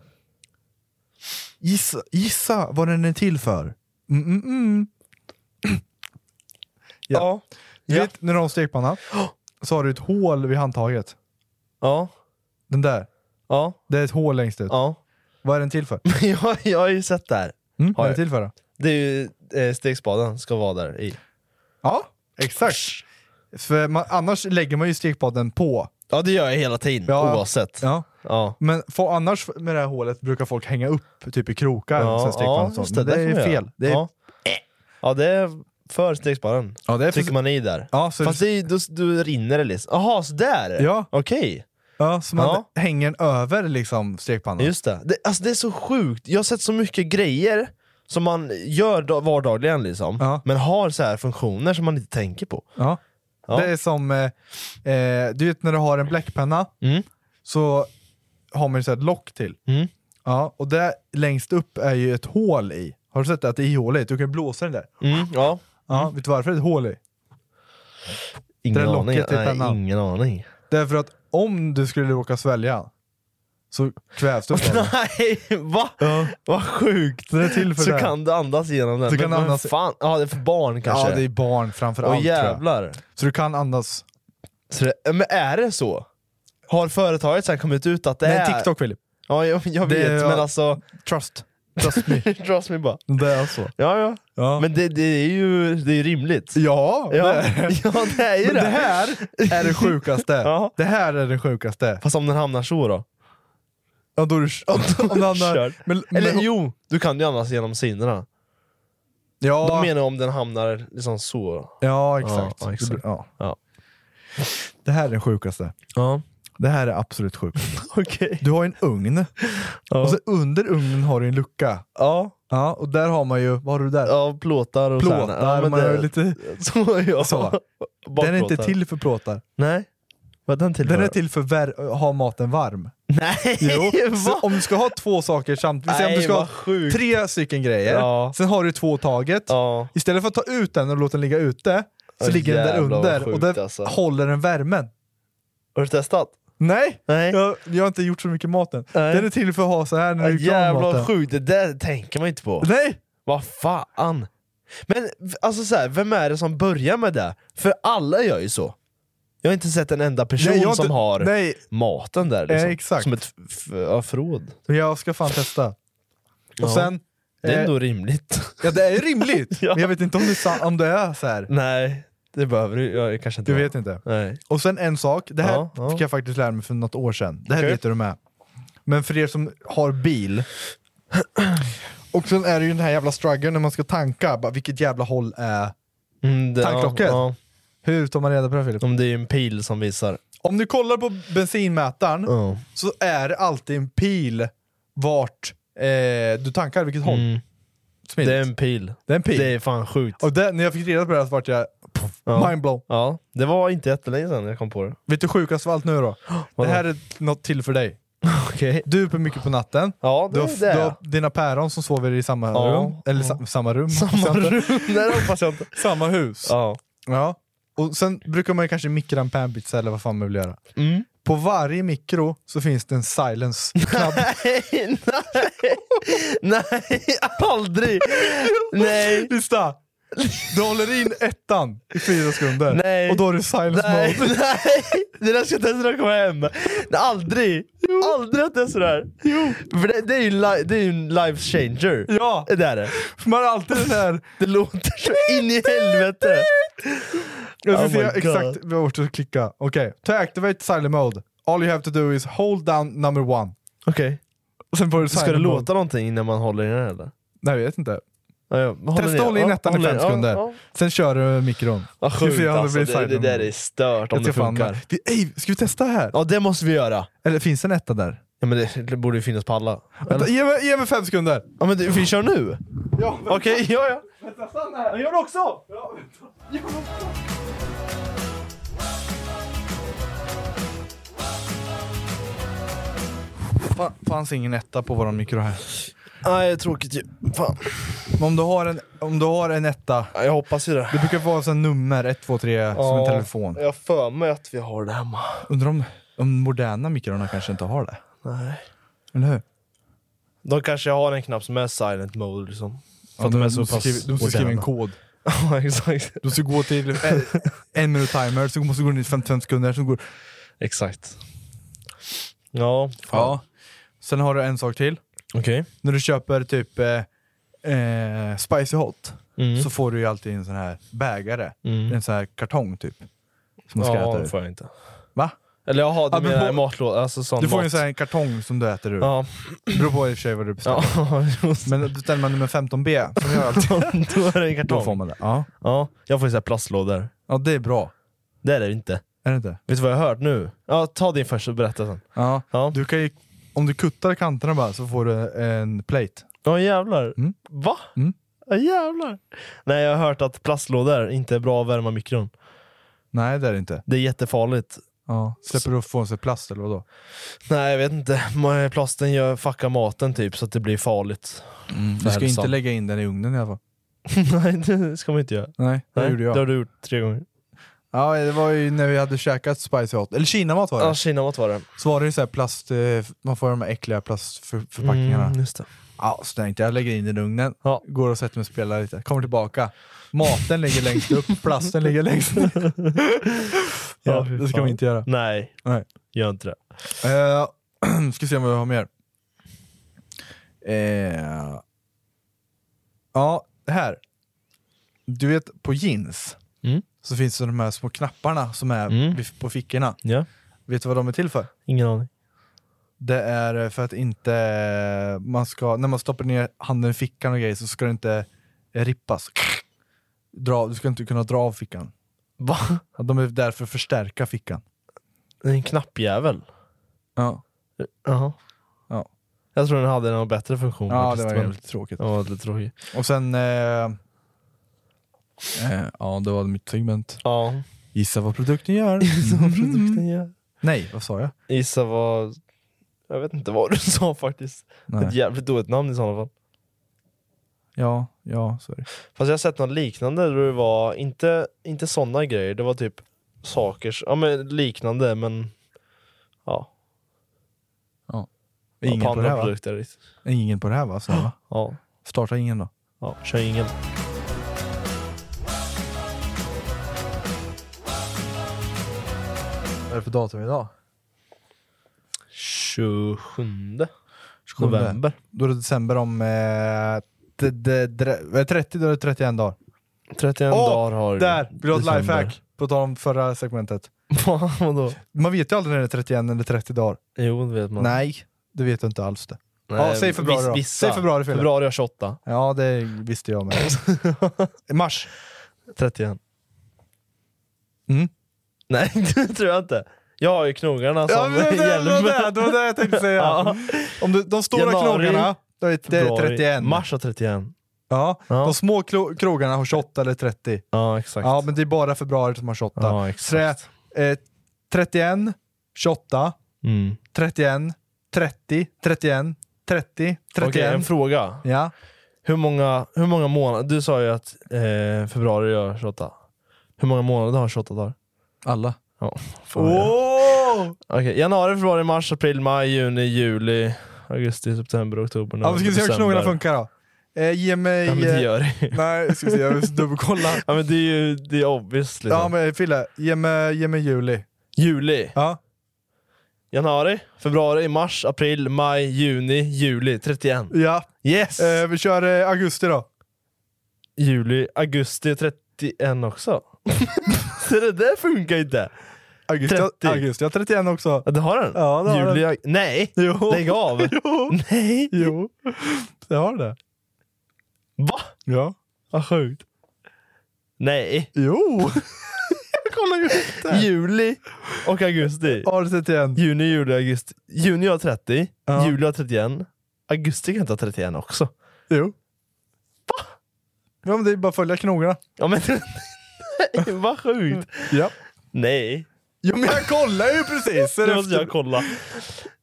[SPEAKER 1] Gissa, gissa vad den är till för. Mm, mm, mm. Ja.
[SPEAKER 3] ja.
[SPEAKER 1] Du vet när du har en stekpanna, så har du ett hål vid handtaget. Ja.
[SPEAKER 3] Den där?
[SPEAKER 1] Ja.
[SPEAKER 3] Det är ett hål längst ut?
[SPEAKER 1] Ja.
[SPEAKER 3] Vad är den till för?
[SPEAKER 1] jag, jag har ju sett det här.
[SPEAKER 3] Mm,
[SPEAKER 1] Har
[SPEAKER 3] vad är
[SPEAKER 1] jag.
[SPEAKER 3] det till för då?
[SPEAKER 1] Det är ju eh, stegspaden ska vara där i.
[SPEAKER 3] Ja, exakt. För man, annars lägger man ju stekpaden på.
[SPEAKER 1] Ja det gör jag hela tiden, oavsett.
[SPEAKER 3] Ja.
[SPEAKER 1] Ja.
[SPEAKER 3] Men för, annars med det här hålet brukar folk hänga upp typ i krokar.
[SPEAKER 1] Ja,
[SPEAKER 3] och sen stekpaden
[SPEAKER 1] ja,
[SPEAKER 3] och sånt.
[SPEAKER 1] just det,
[SPEAKER 3] Men det,
[SPEAKER 1] där
[SPEAKER 3] är ju
[SPEAKER 1] får man
[SPEAKER 3] fel.
[SPEAKER 1] göra.
[SPEAKER 3] Det är,
[SPEAKER 1] Ja. Ja det är för stegspaden,
[SPEAKER 3] Ja, det är för-
[SPEAKER 1] trycker man i där.
[SPEAKER 3] Ja, så-
[SPEAKER 1] Fast det är, då, då rinner det liksom. Jaha, sådär!
[SPEAKER 3] Ja.
[SPEAKER 1] Okej.
[SPEAKER 3] ja, så man
[SPEAKER 1] Ja.
[SPEAKER 3] hänger den över liksom stekpannan.
[SPEAKER 1] Just det. det. Alltså det är så sjukt, jag har sett så mycket grejer som man gör da- vardagligen liksom,
[SPEAKER 3] Ja.
[SPEAKER 1] men har så här funktioner som man inte tänker på.
[SPEAKER 3] Ja.
[SPEAKER 1] Ja.
[SPEAKER 3] Det är som, eh, eh, du vet när du har en bläckpenna,
[SPEAKER 1] Mm.
[SPEAKER 3] så har man ju så här ett lock till.
[SPEAKER 1] Mm.
[SPEAKER 3] Ja, och där längst upp är ju ett hål i. Har du sett det? Att det är ihåligt? Du kan ju blåsa den där.
[SPEAKER 1] Mm, ja.
[SPEAKER 3] Ja, Vet du varför det är ett hål i?
[SPEAKER 1] Ingen
[SPEAKER 3] Det är
[SPEAKER 1] aning.
[SPEAKER 3] locket i
[SPEAKER 1] Nej,
[SPEAKER 3] pennan.
[SPEAKER 1] ingen aning.
[SPEAKER 3] Därför att om du skulle råka svälja så kvävs du av den.
[SPEAKER 1] Nej, va?
[SPEAKER 3] Ja.
[SPEAKER 1] Vad sjukt!
[SPEAKER 3] Den är till för
[SPEAKER 1] så
[SPEAKER 3] det här.
[SPEAKER 1] kan du andas genom den.
[SPEAKER 3] Du kan
[SPEAKER 1] men,
[SPEAKER 3] andas-
[SPEAKER 1] men fan, ja, det är för barn kanske.
[SPEAKER 3] Ja, det är barn framför
[SPEAKER 1] Åh
[SPEAKER 3] allt tror jag.
[SPEAKER 1] jävlar.
[SPEAKER 3] Så du kan andas.
[SPEAKER 1] Så det, men är det så? Har företaget sen kommit ut att det
[SPEAKER 3] Nej,
[SPEAKER 1] är...
[SPEAKER 3] TikTok Filip.
[SPEAKER 1] Ja, jag, jag
[SPEAKER 3] Det
[SPEAKER 1] vet,
[SPEAKER 3] är-
[SPEAKER 1] men alltså...
[SPEAKER 3] Trust. Trust me.
[SPEAKER 1] Trust me bara.
[SPEAKER 3] Det är så.
[SPEAKER 1] Ja, ja.
[SPEAKER 3] Ja.
[SPEAKER 1] Men det, det är ju det är ju rimligt.
[SPEAKER 3] ja,
[SPEAKER 1] Ja,
[SPEAKER 3] Det, är.
[SPEAKER 1] ja, det är ju
[SPEAKER 3] Men
[SPEAKER 1] det.
[SPEAKER 3] det här är det sjukaste.
[SPEAKER 1] Ja.
[SPEAKER 3] Det här är det sjukaste.
[SPEAKER 1] Fast om den hamnar så då?
[SPEAKER 3] Ja, då är du, om, om det
[SPEAKER 1] Kör.
[SPEAKER 3] hamnar, men, men,
[SPEAKER 1] Eller jo, du kan ju andas genom sidorna.
[SPEAKER 3] ja,
[SPEAKER 1] De menar om den hamnar liksom så.
[SPEAKER 3] ja, exakt.
[SPEAKER 1] Ja, exakt.
[SPEAKER 3] Ja.
[SPEAKER 1] Ja.
[SPEAKER 3] Det här är det sjukaste.
[SPEAKER 1] Ja,
[SPEAKER 3] Det här är absolut sjukt.
[SPEAKER 1] okej.
[SPEAKER 3] Du har ju en ugn,
[SPEAKER 1] Ja.
[SPEAKER 3] och så under ugnen har du en lucka.
[SPEAKER 1] Ja.
[SPEAKER 3] Ja, och där har man ju, vad har du där?
[SPEAKER 1] ja, plåtar och
[SPEAKER 3] plåtar,
[SPEAKER 1] så här. Ja, men
[SPEAKER 3] man
[SPEAKER 1] det-
[SPEAKER 3] har ju lite...
[SPEAKER 1] Så, ja.
[SPEAKER 3] Så. Den är inte
[SPEAKER 1] Bakplåtar.
[SPEAKER 3] till för plåtar.
[SPEAKER 1] Nej. Vad är den till
[SPEAKER 3] Den
[SPEAKER 1] för?
[SPEAKER 3] är till för vär- ha maten varm.
[SPEAKER 1] Nej!
[SPEAKER 3] Jo. Så
[SPEAKER 1] Va?
[SPEAKER 3] om du ska ha två saker samtidigt, säg om du
[SPEAKER 1] Nej,
[SPEAKER 3] ska
[SPEAKER 1] vad
[SPEAKER 3] ha
[SPEAKER 1] sjukt.
[SPEAKER 3] tre stycken grejer,
[SPEAKER 1] Ja.
[SPEAKER 3] sen har du två taget.
[SPEAKER 1] Ja.
[SPEAKER 3] Istället för att ta ut den och låta den ligga ute, så
[SPEAKER 1] Åh,
[SPEAKER 3] ligger den där
[SPEAKER 1] jävlar, vad
[SPEAKER 3] under och
[SPEAKER 1] sjukt,
[SPEAKER 3] där
[SPEAKER 1] alltså.
[SPEAKER 3] håller den värmen.
[SPEAKER 1] Har du testat?
[SPEAKER 3] Nej,
[SPEAKER 1] Nej.
[SPEAKER 3] Jag, jag har inte gjort så mycket maten.
[SPEAKER 1] Nej.
[SPEAKER 3] Den är till för att ha så här när
[SPEAKER 1] Ja,
[SPEAKER 3] du är klar med
[SPEAKER 1] jävlar vad
[SPEAKER 3] maten.
[SPEAKER 1] sjukt, det där tänker man inte på.
[SPEAKER 3] Nej!
[SPEAKER 1] Vad fan! Men v- alltså så här, vem är det som börjar med det? För alla gör ju så. Jag har inte sett en enda person
[SPEAKER 3] Nej, jag har
[SPEAKER 1] som
[SPEAKER 3] inte-
[SPEAKER 1] har
[SPEAKER 3] Nej,
[SPEAKER 1] maten där. Liksom.
[SPEAKER 3] Eh, exakt.
[SPEAKER 1] Som ett f- f- ja, förråd.
[SPEAKER 3] jag ska fan testa. Och
[SPEAKER 1] Ja.
[SPEAKER 3] sen,
[SPEAKER 1] Det är
[SPEAKER 3] eh,
[SPEAKER 1] ändå rimligt.
[SPEAKER 3] ja det är ju rimligt,
[SPEAKER 1] Ja.
[SPEAKER 3] men jag vet inte om det, är sa- om det är så här.
[SPEAKER 1] Nej, det behöver du jag kanske inte.
[SPEAKER 3] Du
[SPEAKER 1] har.
[SPEAKER 3] vet inte.
[SPEAKER 1] Nej.
[SPEAKER 3] Och sen en sak, det här
[SPEAKER 1] Ja, ja.
[SPEAKER 3] fick jag faktiskt lära mig för något år sedan. Det här
[SPEAKER 1] Okej.
[SPEAKER 3] vet du de är. Men för er som har bil, och sen är det ju den här jävla struggeln när man ska tanka, bara, vilket jävla håll är...
[SPEAKER 1] Mm, det,
[SPEAKER 3] Tanklocket?
[SPEAKER 1] Ja,
[SPEAKER 3] Hur tar man reda på det Filip?
[SPEAKER 1] ja. Om det är ju en pil som visar.
[SPEAKER 3] Om du kollar på bensinmätaren
[SPEAKER 1] Ja.
[SPEAKER 3] så är det alltid en pil vart eh, du tankar, vilket håll.
[SPEAKER 1] Mm.
[SPEAKER 3] Smidigt.
[SPEAKER 1] Det är en pil.
[SPEAKER 3] Det är en pil.
[SPEAKER 1] Det är fan sjukt.
[SPEAKER 3] Och det, när jag fick reda på det här så vart jag pff,
[SPEAKER 1] Ja.
[SPEAKER 3] mindblown.
[SPEAKER 1] Ja, det var inte jättelänge sedan jag kom på det.
[SPEAKER 3] Vet du sjukast av allt nu då? Det
[SPEAKER 1] Vadå?
[SPEAKER 3] här är något till för dig.
[SPEAKER 1] Okej.
[SPEAKER 3] Du är uppe mycket på natten.
[SPEAKER 1] Ja,
[SPEAKER 3] Du
[SPEAKER 1] det är
[SPEAKER 3] har,
[SPEAKER 1] det.
[SPEAKER 3] du har dina päron som sover i samma
[SPEAKER 1] Ja.
[SPEAKER 3] rum. Eller sa, samma rum. hoppas
[SPEAKER 1] Samma
[SPEAKER 3] jag inte.
[SPEAKER 1] rum, nej det hoppas jag inte.
[SPEAKER 3] Samma hus. Ja.
[SPEAKER 1] Ja.
[SPEAKER 3] Och sen brukar man ju kanske mikra en panpizza eller vad fan man vill göra.
[SPEAKER 1] Mm.
[SPEAKER 3] På varje mikro så finns det en silence-knapp.
[SPEAKER 1] Nej, nej, nej, aldrig! Nej,
[SPEAKER 3] Lyssna! Du håller in ettan i fyra sekunder.
[SPEAKER 1] Nej.
[SPEAKER 3] Och då är det silence
[SPEAKER 1] nej,
[SPEAKER 3] mode.
[SPEAKER 1] nej! Det där ska jag testa när jag kommer hem. Nej, aldrig! Aldrig att det är sådär. Jo. För det, det är ju li- det är ju en life changer.
[SPEAKER 3] Ja,
[SPEAKER 1] Det där är det.
[SPEAKER 3] för man har alltid den här...
[SPEAKER 1] Det låter så in i helvete.
[SPEAKER 3] Jag ska
[SPEAKER 1] Oh
[SPEAKER 3] se
[SPEAKER 1] my God.
[SPEAKER 3] exakt vart du ska klicka. Okej, to activate silent mode. All you have to do is hold down number one.
[SPEAKER 1] Okej.
[SPEAKER 3] Och sen får du
[SPEAKER 1] Ska
[SPEAKER 3] silent
[SPEAKER 1] det
[SPEAKER 3] mode.
[SPEAKER 1] låta någonting innan man håller i den här, eller?
[SPEAKER 3] Nej, jag vet inte.
[SPEAKER 1] Ja, ja. Håller
[SPEAKER 3] Testa
[SPEAKER 1] ner.
[SPEAKER 3] att hålla in
[SPEAKER 1] Ja,
[SPEAKER 3] ettan i
[SPEAKER 1] håller
[SPEAKER 3] fem
[SPEAKER 1] ner.
[SPEAKER 3] sekunder.
[SPEAKER 1] Ja, ja.
[SPEAKER 3] Sen kör du mikron.
[SPEAKER 1] Vad
[SPEAKER 3] Du får
[SPEAKER 1] sjukt
[SPEAKER 3] göra
[SPEAKER 1] alltså,
[SPEAKER 3] bli
[SPEAKER 1] det, det
[SPEAKER 3] silent
[SPEAKER 1] där
[SPEAKER 3] mode.
[SPEAKER 1] är stört om
[SPEAKER 3] Jag
[SPEAKER 1] det
[SPEAKER 3] ska fan-
[SPEAKER 1] funkar.
[SPEAKER 3] Vi, ey, ska vi testa här?
[SPEAKER 1] Ja det måste vi göra.
[SPEAKER 3] Eller finns det en etta där?
[SPEAKER 1] Ja, men det, det borde ju finnas på alla.
[SPEAKER 3] Vänta, ge, mig, ge mig fem sekunder!
[SPEAKER 1] Ja men det, vi kör nu!
[SPEAKER 3] Ja,
[SPEAKER 1] Okej, ja ja.
[SPEAKER 3] vänta, stanna här! Jag gör er det också! Ja, Fanns ingen etta på våran mikro här.
[SPEAKER 1] Nej tråkigt ju. Fan.
[SPEAKER 3] Men om du har en, om du har en etta,
[SPEAKER 1] Ja, Jag hoppas ju det.
[SPEAKER 3] det brukar vara sån nummer 1, 2, 3 som en
[SPEAKER 1] Ja,
[SPEAKER 3] telefon.
[SPEAKER 1] Jag har för mig att vi har det hemma.
[SPEAKER 3] Undrar om de moderna mikrorna kanske inte har det?
[SPEAKER 1] Nej.
[SPEAKER 3] Eller hur?
[SPEAKER 1] De kanske har en knapp som är silent mode liksom. För
[SPEAKER 3] Ja,
[SPEAKER 1] att de är
[SPEAKER 3] de
[SPEAKER 1] så
[SPEAKER 3] måste
[SPEAKER 1] pass
[SPEAKER 3] skriva, de måste skriva en
[SPEAKER 1] moderna.
[SPEAKER 3] kod.
[SPEAKER 1] Ja exakt.
[SPEAKER 3] Du ska gå till en, en minut timer, så måste du gå ner till 55 sekunder, så går
[SPEAKER 1] Exakt. Ja.
[SPEAKER 3] ja. Sen har du en sak till.
[SPEAKER 1] Okej.
[SPEAKER 3] När du köper typ eh, eh, Spicy Hot
[SPEAKER 1] Mm.
[SPEAKER 3] så får du ju alltid en sån här bägare.
[SPEAKER 1] Mm.
[SPEAKER 3] En sån här kartong typ. Som man ska
[SPEAKER 1] Ja,
[SPEAKER 3] äta
[SPEAKER 1] det
[SPEAKER 3] ur.
[SPEAKER 1] får jag inte.
[SPEAKER 3] Va?
[SPEAKER 1] Eller jaha, du
[SPEAKER 3] Ja, men
[SPEAKER 1] menar
[SPEAKER 3] på-
[SPEAKER 1] matlåda? Alltså sån
[SPEAKER 3] Du får ju en
[SPEAKER 1] mat.
[SPEAKER 3] sån här kartong som du äter ur.
[SPEAKER 1] Ja.
[SPEAKER 3] Beror på i och för sig vad du beställer. Men beställer man nummer 15B, som jag alltid
[SPEAKER 1] då är det en kartong.
[SPEAKER 3] Då får man det. Ja.
[SPEAKER 1] Ja, jag får ju så här plastlådor.
[SPEAKER 3] Ja, det är bra.
[SPEAKER 1] Det är det inte.
[SPEAKER 3] Är det inte?
[SPEAKER 1] Vet du vad jag har hört nu? Ja, ta din först och berätta sen.
[SPEAKER 3] Ja. Du kan ju, om du kuttar kanterna bara så får du en plate.
[SPEAKER 1] Ja jävlar. Va?
[SPEAKER 3] Mm.
[SPEAKER 1] Ja jävlar. Nej, jag har hört att plastlådor inte är bra att värma mikron.
[SPEAKER 3] Nej, det är det inte.
[SPEAKER 1] Det är jättefarligt.
[SPEAKER 3] Ja. Släpper du ifrån sig plast eller vadå?
[SPEAKER 1] Nej, jag vet inte. Ma- Plasten gör, fuckar maten typ, så att det blir farligt. för
[SPEAKER 3] Mm. Du ska
[SPEAKER 1] hälsan.
[SPEAKER 3] inte lägga in den i ugnen i alla fall.
[SPEAKER 1] Nej, det ska man inte göra.
[SPEAKER 3] Nej, det gjorde jag.
[SPEAKER 1] Det har du gjort tre gånger.
[SPEAKER 3] Ja, det var ju när vi hade käkat spicy hot, eller kinamat var det.
[SPEAKER 1] Ja, kinamat var det.
[SPEAKER 3] Så var det ju så här plast, eh, man får de här äckliga plastförpackningarna.
[SPEAKER 1] Mm, just det.
[SPEAKER 3] Ja, så tänkte jag lägger in den i ugnen, går och sätter mig och spelar lite, kommer tillbaka. Maten ligger längst upp, plasten ligger längst ner. ja,
[SPEAKER 1] fy
[SPEAKER 3] det ska
[SPEAKER 1] fan.
[SPEAKER 3] man inte göra.
[SPEAKER 1] Nej,
[SPEAKER 3] Nej.
[SPEAKER 1] gör inte det.
[SPEAKER 3] Uh, ska se om vi har mer. Eh, ja, det här. Du vet på jeans
[SPEAKER 1] Mm.
[SPEAKER 3] så finns det de här små knapparna som är
[SPEAKER 1] Mm.
[SPEAKER 3] vid- på fickorna.
[SPEAKER 1] Ja.
[SPEAKER 3] Vet du vad de är till för?
[SPEAKER 1] Ingen aning.
[SPEAKER 3] Det är eh, för att inte eh, man ska, när man stoppar ner handen i fickan och grejer så ska det inte eh, rippas. Dra, du ska inte kunna dra av fickan.
[SPEAKER 1] Va?
[SPEAKER 3] Ja, De är där för att förstärka fickan.
[SPEAKER 1] Det är En knappjävel?
[SPEAKER 3] Ja.
[SPEAKER 1] Jaha.
[SPEAKER 3] Ja.
[SPEAKER 1] Jag tror den hade någon bättre funktion.
[SPEAKER 3] Ja,
[SPEAKER 1] faktiskt,
[SPEAKER 3] det var
[SPEAKER 1] men-
[SPEAKER 3] jävligt tråkigt.
[SPEAKER 1] Ja, det var lite tråkigt.
[SPEAKER 3] Och sen... Eh, eh, ja, det var mitt segment.
[SPEAKER 1] Ja.
[SPEAKER 3] Gissa vad produkten gör. Mm.
[SPEAKER 1] Produkten gör.
[SPEAKER 3] Nej, vad sa jag?
[SPEAKER 1] Gissa vad... Jag vet inte vad du sa faktiskt.
[SPEAKER 3] Nej.
[SPEAKER 1] Ett jävligt dåligt namn i sådana fall.
[SPEAKER 3] Ja, ja, sorry.
[SPEAKER 1] Fast jag har sett något liknande där det var, inte, inte sådana grejer, det var typ saker, s- ja men liknande men... Ja.
[SPEAKER 3] Ja.
[SPEAKER 1] Ingen
[SPEAKER 3] Ingen
[SPEAKER 1] på
[SPEAKER 3] på det
[SPEAKER 1] andra
[SPEAKER 3] här, va?
[SPEAKER 1] produkter riktigt.
[SPEAKER 3] Ingen på det här va? Så, va?
[SPEAKER 1] Ja.
[SPEAKER 3] Starta ingen då.
[SPEAKER 1] ja, kör ingen.
[SPEAKER 3] Vad är det för datum idag?
[SPEAKER 1] 27 november.
[SPEAKER 3] Då är det december om... Eh, d- d- dre- vad är det, 30 då är det 31 dagar.
[SPEAKER 1] 31
[SPEAKER 3] Åh,
[SPEAKER 1] dagar har
[SPEAKER 3] Där! Vill du ha
[SPEAKER 1] december.
[SPEAKER 3] ett lifehack? På tal om förra segmentet.
[SPEAKER 1] Va, Vadå?
[SPEAKER 3] Man vet ju aldrig när det är 31 eller 30 dagar.
[SPEAKER 1] Jo, det vet man.
[SPEAKER 3] Nej, det vet du inte alls det.
[SPEAKER 1] Nej,
[SPEAKER 3] ja, säg februari
[SPEAKER 1] viss-
[SPEAKER 3] då.
[SPEAKER 1] Vissa.
[SPEAKER 3] Säg februari Fille.
[SPEAKER 1] Februari har 28.
[SPEAKER 3] Ja, det visste jag med. Mars.
[SPEAKER 1] 31.
[SPEAKER 3] Mm.
[SPEAKER 1] Nej, det tror jag inte. Jag har ju knogarna som
[SPEAKER 3] Ja, men det, det, det, var det,
[SPEAKER 1] hjälm.
[SPEAKER 3] det var det jag tänkte säga.
[SPEAKER 1] Ja.
[SPEAKER 3] Om du, de stora
[SPEAKER 1] Januari,
[SPEAKER 3] krogarna, då är det
[SPEAKER 1] Februari.
[SPEAKER 3] 31.
[SPEAKER 1] Mars har 31.
[SPEAKER 3] Ja,
[SPEAKER 1] Ja.
[SPEAKER 3] De små klo- krogarna har 28 eller 30.
[SPEAKER 1] Ja, exakt.
[SPEAKER 3] Ja, men det är bara februari som har 28.
[SPEAKER 1] Ja, exakt.
[SPEAKER 3] Så det är, eh, 31, 28,
[SPEAKER 1] Mm.
[SPEAKER 3] 31, 30, 31, 30, 31.
[SPEAKER 1] Okej, en fråga.
[SPEAKER 3] Ja.
[SPEAKER 1] Hur många, hur många månader... Du sa ju att eh, februari gör 28. Hur många månader har 28 dagar?
[SPEAKER 3] Alla.
[SPEAKER 1] Ja, fan vad jag-
[SPEAKER 3] Åh!
[SPEAKER 1] Okej, Januari, februari, mars, april, maj, juni, juli, augusti, september, oktober,
[SPEAKER 3] Ja, vi ska se hur
[SPEAKER 1] december.
[SPEAKER 3] knogarna funkar då. Eh, ge mig...
[SPEAKER 1] Ja, men det
[SPEAKER 3] eh,
[SPEAKER 1] gör det
[SPEAKER 3] Nej, jag ska se, jag vill dubbelkolla.
[SPEAKER 1] Ja men det är ju det är obvious liksom.
[SPEAKER 3] Ja men Fille, ge mig, ge mig juli.
[SPEAKER 1] Juli,
[SPEAKER 3] Ja.
[SPEAKER 1] januari, februari, mars, april, maj, juni, juli, 31.
[SPEAKER 3] Ja,
[SPEAKER 1] Yes!
[SPEAKER 3] eh, vi kör eh, augusti då.
[SPEAKER 1] Juli, augusti, 31 också. Så det där funkar inte.
[SPEAKER 3] Augusti,
[SPEAKER 1] 30.
[SPEAKER 3] augusti. Jag har 31 också.
[SPEAKER 1] Ja, Det har den?
[SPEAKER 3] Ja, det har
[SPEAKER 1] Juli,
[SPEAKER 3] den.
[SPEAKER 1] aug- Nej!
[SPEAKER 3] Jo.
[SPEAKER 1] Lägg av!
[SPEAKER 3] Jo.
[SPEAKER 1] Nej!
[SPEAKER 3] Jo, jag har det.
[SPEAKER 1] Va?
[SPEAKER 3] Ja.
[SPEAKER 1] Vad sjukt. Nej.
[SPEAKER 3] Jo! jag kollar ju inte.
[SPEAKER 1] Juli och augusti.
[SPEAKER 3] Har du 31?
[SPEAKER 1] Juni, juli, augusti. Juni har 30,
[SPEAKER 3] Ja.
[SPEAKER 1] juli har 31. Augusti kan inte ha 31 också.
[SPEAKER 3] Jo. Va? Ja men det är bara att följa knogarna.
[SPEAKER 1] Ja men... Nej, vad sjukt!
[SPEAKER 3] Ja.
[SPEAKER 1] Nej.
[SPEAKER 3] Jo men jag kollar ju precis!
[SPEAKER 1] Det måste jag kolla.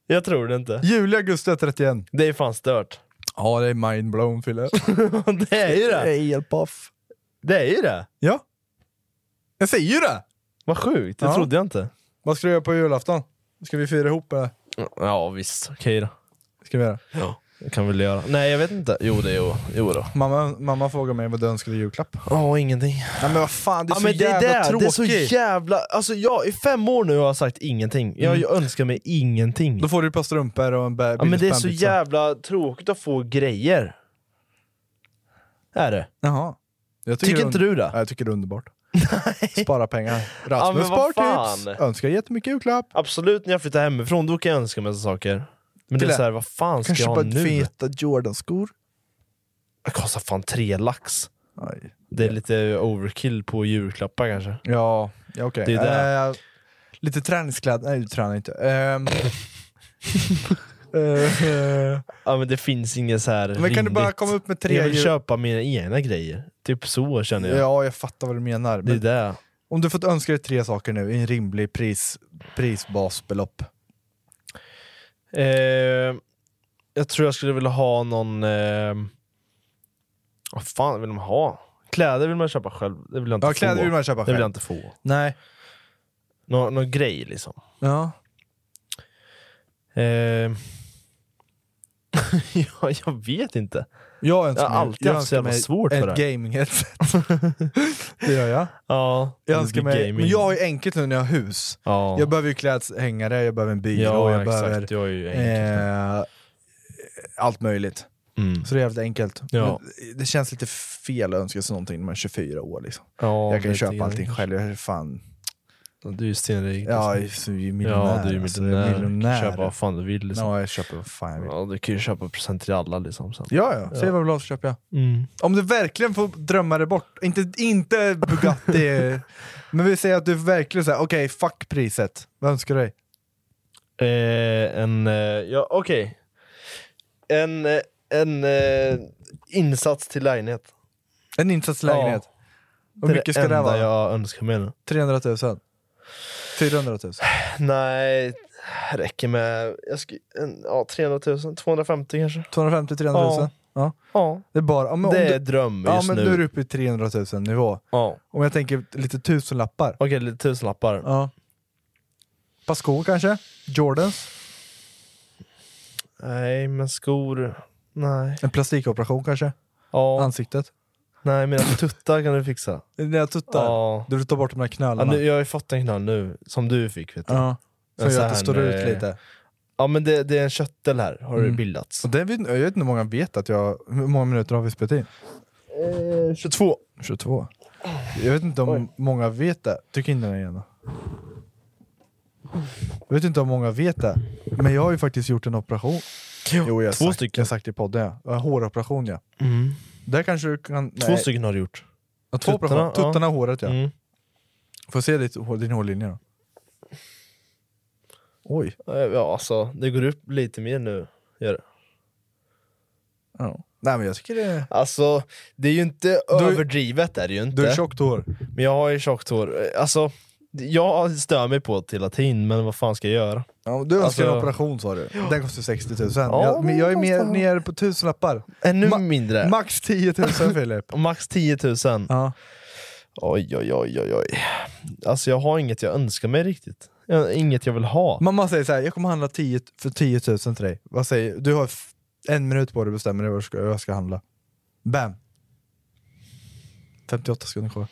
[SPEAKER 1] Jag tror det inte.
[SPEAKER 3] Juli, augusti är 31.
[SPEAKER 1] Det är fan stört.
[SPEAKER 3] Ja det är mindblown Fille.
[SPEAKER 1] Det är ju det!
[SPEAKER 3] helt paff.
[SPEAKER 1] Det är ju det!
[SPEAKER 3] Ja. Jag säger ju det!
[SPEAKER 1] Vad sjukt, det
[SPEAKER 3] Ja.
[SPEAKER 1] trodde jag inte.
[SPEAKER 3] Vad ska du göra på julafton? Ska vi fira ihop eller?
[SPEAKER 1] Ja visst, okej då.
[SPEAKER 3] Ska vi göra?
[SPEAKER 1] Ja.
[SPEAKER 3] Det kan väl göra. Nej, jag vet inte. Jo, det jo. jo då.
[SPEAKER 1] Mamma, mamma frågar mig vad du önskar i julklapp.
[SPEAKER 3] Ja, ingenting.
[SPEAKER 1] Nej, men vad fan, det är
[SPEAKER 3] Ja,
[SPEAKER 1] så
[SPEAKER 3] men det
[SPEAKER 1] jävla
[SPEAKER 3] är det. Det är
[SPEAKER 1] tråkigt.
[SPEAKER 3] så jävla... Alltså jag, i fem år nu har jag sagt ingenting. Jag
[SPEAKER 1] Mm.
[SPEAKER 3] önskar mig ingenting.
[SPEAKER 1] Då får du ett par strumpor och en bä-
[SPEAKER 3] Ja, men det är så
[SPEAKER 1] Billys bandpizza.
[SPEAKER 3] jävla tråkigt att få grejer. Är det?
[SPEAKER 1] Jaha. Jag
[SPEAKER 3] Tycker inte du det?
[SPEAKER 1] Nej, jag tycker det är underbart. Spara pengar.
[SPEAKER 3] Ja,
[SPEAKER 1] Rasmus
[SPEAKER 3] men vad
[SPEAKER 1] spartips!
[SPEAKER 3] fan.
[SPEAKER 1] Önskar jättemycket julklapp.
[SPEAKER 3] Absolut, när jag flyttar hemifrån då kan jag önska mig såna saker. Men det
[SPEAKER 1] Kille,
[SPEAKER 3] är såhär, vad fan ska
[SPEAKER 1] Kanske
[SPEAKER 3] jag ha
[SPEAKER 1] bara
[SPEAKER 3] nu?
[SPEAKER 1] feta Jordan-skor.
[SPEAKER 3] Det kostar fan tre lax. Det är lite overkill på julklappar kanske.
[SPEAKER 1] Ja, ja okej.
[SPEAKER 3] Det är det.
[SPEAKER 1] Eh, lite träningskläder. Nej, du tränar inte. Ehm, Eh,
[SPEAKER 3] Ja men det finns inget så här
[SPEAKER 1] Men kan du bara
[SPEAKER 3] rimligt.
[SPEAKER 1] komma upp med tre
[SPEAKER 3] Jag vill
[SPEAKER 1] jul-
[SPEAKER 3] köpa mina egna grejer. Typ så känner jag.
[SPEAKER 1] ja, jag fattar vad du menar.
[SPEAKER 3] det är
[SPEAKER 1] Men
[SPEAKER 3] det.
[SPEAKER 1] om du fått önska dig tre saker nu i en rimlig pris, prisbasbelopp.
[SPEAKER 3] Eh, jag tror jag skulle vilja ha någon... Eh, vad fan vill man ha? Kläder vill man köpa själv. Det vill jag inte
[SPEAKER 1] Ja,
[SPEAKER 3] få.
[SPEAKER 1] kläder vill man köpa
[SPEAKER 3] Det
[SPEAKER 1] själv.
[SPEAKER 3] vill jag inte få.
[SPEAKER 1] Nej.
[SPEAKER 3] Nå, någon grej liksom.
[SPEAKER 1] Ja.
[SPEAKER 3] Eh, ja, jag vet inte.
[SPEAKER 1] Jag önskar
[SPEAKER 3] Jag har
[SPEAKER 1] mig,
[SPEAKER 3] alltid
[SPEAKER 1] jag
[SPEAKER 3] haft så
[SPEAKER 1] önskar
[SPEAKER 3] jävla
[SPEAKER 1] mig
[SPEAKER 3] svårt för det
[SPEAKER 1] ett
[SPEAKER 3] här.
[SPEAKER 1] gaming-headset. det gör jag.
[SPEAKER 3] Ja,
[SPEAKER 1] Jag
[SPEAKER 3] det
[SPEAKER 1] önskar
[SPEAKER 3] blir
[SPEAKER 1] mig,
[SPEAKER 3] gaming.
[SPEAKER 1] men jag har ju enkelt nu när jag har hus.
[SPEAKER 3] Ja.
[SPEAKER 1] Jag behöver ju klädshängare, jag behöver en byrå,
[SPEAKER 3] Ja,
[SPEAKER 1] jag
[SPEAKER 3] exakt.
[SPEAKER 1] behöver
[SPEAKER 3] Du har ju
[SPEAKER 1] eh, allt möjligt.
[SPEAKER 3] Mm.
[SPEAKER 1] Så det är jävligt enkelt.
[SPEAKER 3] Ja.
[SPEAKER 1] Men det känns lite fel att önska sig någonting när man är 24 år. Liksom.
[SPEAKER 3] Ja,
[SPEAKER 1] jag kan ju
[SPEAKER 3] lite
[SPEAKER 1] köpa
[SPEAKER 3] grann
[SPEAKER 1] allting
[SPEAKER 3] kanske.
[SPEAKER 1] själv. Jag är fan,
[SPEAKER 3] Du är ju stenrik.
[SPEAKER 1] ja, jag är så- jag är miljonär.
[SPEAKER 3] Ja, du är ju
[SPEAKER 1] alltså.
[SPEAKER 3] miljonär.
[SPEAKER 1] jag är
[SPEAKER 3] Du
[SPEAKER 1] miljonär.
[SPEAKER 3] kan köpa vad fan du vill. Liksom.
[SPEAKER 1] Ja, jag köper vad fan jag vill.
[SPEAKER 3] Ja, du kan ju köpa present till alla liksom. Sen.
[SPEAKER 1] Ja, ja. Säg
[SPEAKER 3] Ja.
[SPEAKER 1] vad du vill ha så köper jag.
[SPEAKER 3] Mm.
[SPEAKER 1] Om du verkligen får drömma dig bort, inte, inte Bugatti, men vi säger att du verkligen säger okej, fuck priset. Vad önskar du dig?
[SPEAKER 3] Eh, en, eh, ja okej. En, eh, en eh, insats till lägenhet.
[SPEAKER 1] En insatslägenhet.
[SPEAKER 3] Ja,
[SPEAKER 1] Hur mycket ska det
[SPEAKER 3] enda
[SPEAKER 1] vara?
[SPEAKER 3] jag önskar mig nu.
[SPEAKER 1] 300 000? 400 000?
[SPEAKER 3] Nej, räcker med jag ska, en, ja, 300 000, 250 kanske.
[SPEAKER 1] 250 300 000?
[SPEAKER 3] Ja.
[SPEAKER 1] Ja.
[SPEAKER 3] Ja,
[SPEAKER 1] Det är bara... Ja, men om
[SPEAKER 3] det
[SPEAKER 1] du-
[SPEAKER 3] är dröm
[SPEAKER 1] Ja
[SPEAKER 3] just
[SPEAKER 1] men nu.
[SPEAKER 3] nu.
[SPEAKER 1] är du uppe i 300 000 nivå.
[SPEAKER 3] Ja.
[SPEAKER 1] Om jag tänker lite tusenlappar.
[SPEAKER 3] Okej, lite tusenlappar.
[SPEAKER 1] Ja. Pasco kanske? Jordans?
[SPEAKER 3] Nej, men skor... Nej.
[SPEAKER 1] En plastikoperation kanske?
[SPEAKER 3] Ja,
[SPEAKER 1] Ansiktet?
[SPEAKER 3] nej, mina tuttar kan du fixa.
[SPEAKER 1] Dina tuttar?
[SPEAKER 3] Ja.
[SPEAKER 1] Du vill ta bort de här
[SPEAKER 3] Ja,
[SPEAKER 1] knölarna?
[SPEAKER 3] nu, jag har ju fått en knall nu, som du fick vet du.
[SPEAKER 1] Ja. Som
[SPEAKER 3] En
[SPEAKER 1] gör
[SPEAKER 3] sån
[SPEAKER 1] att det
[SPEAKER 3] här,
[SPEAKER 1] står ut
[SPEAKER 3] eh,
[SPEAKER 1] lite.
[SPEAKER 3] Ja men det, det är en köttel här, har det
[SPEAKER 1] Mm.
[SPEAKER 3] bildats.
[SPEAKER 1] Och det vet, jag vet inte hur många vet att jag... Hur många minuter har vi spelat in?
[SPEAKER 3] Eh, 22.
[SPEAKER 1] 22. Jag vet inte om många vet det. Tryck in den här igen då. Jag vet inte om många vet det, men jag har ju faktiskt gjort en operation. Jo, jag har
[SPEAKER 3] två
[SPEAKER 1] sagt,
[SPEAKER 3] stycken.
[SPEAKER 1] Jag har sagt det i podden ja. En Håroperation ja.
[SPEAKER 3] Mm.
[SPEAKER 1] Där kanske du kan...
[SPEAKER 3] Två
[SPEAKER 1] nej.
[SPEAKER 3] stycken har du gjort.
[SPEAKER 1] Ja, två
[SPEAKER 3] Tuttarna,
[SPEAKER 1] operationer.
[SPEAKER 3] ja.
[SPEAKER 1] Tuttarna och håret ja.
[SPEAKER 3] Mm.
[SPEAKER 1] Får jag se ditt, hår- din hårlinje då? Oj.
[SPEAKER 3] Ja alltså, det går upp lite mer nu. Gör det.
[SPEAKER 1] Ja. Nej men jag tycker det är...
[SPEAKER 3] Alltså, det är ju inte
[SPEAKER 1] är-
[SPEAKER 3] överdrivet är det ju inte.
[SPEAKER 1] Du har tjockt hår.
[SPEAKER 3] Men jag har ju tjockt hår. Alltså, jag stör mig på det till latin, men vad fan ska jag göra?
[SPEAKER 1] Ja, du önskar
[SPEAKER 3] Alltså-
[SPEAKER 1] en operation sa du. Den kostar 60 000.
[SPEAKER 3] Ja,
[SPEAKER 1] jag, men jag är
[SPEAKER 3] men
[SPEAKER 1] mer,
[SPEAKER 3] kostar-
[SPEAKER 1] nere på tusenlappar.
[SPEAKER 3] Ännu
[SPEAKER 1] Ma-
[SPEAKER 3] mindre.
[SPEAKER 1] Max 10 000 Filip.
[SPEAKER 3] Max 10 000.
[SPEAKER 1] Ja.
[SPEAKER 3] Oj, oj, oj, oj, oj. Alltså jag har inget jag önskar mig riktigt. Jag- Inget jag vill ha.
[SPEAKER 1] Mamma säger så här, jag kommer handla 10, för 10 000 till dig. Vad säger du? Du har f- en minut på dig att bestämma dig vad du ska, vad jag ska handla. Bam! 58 sekunder kvar.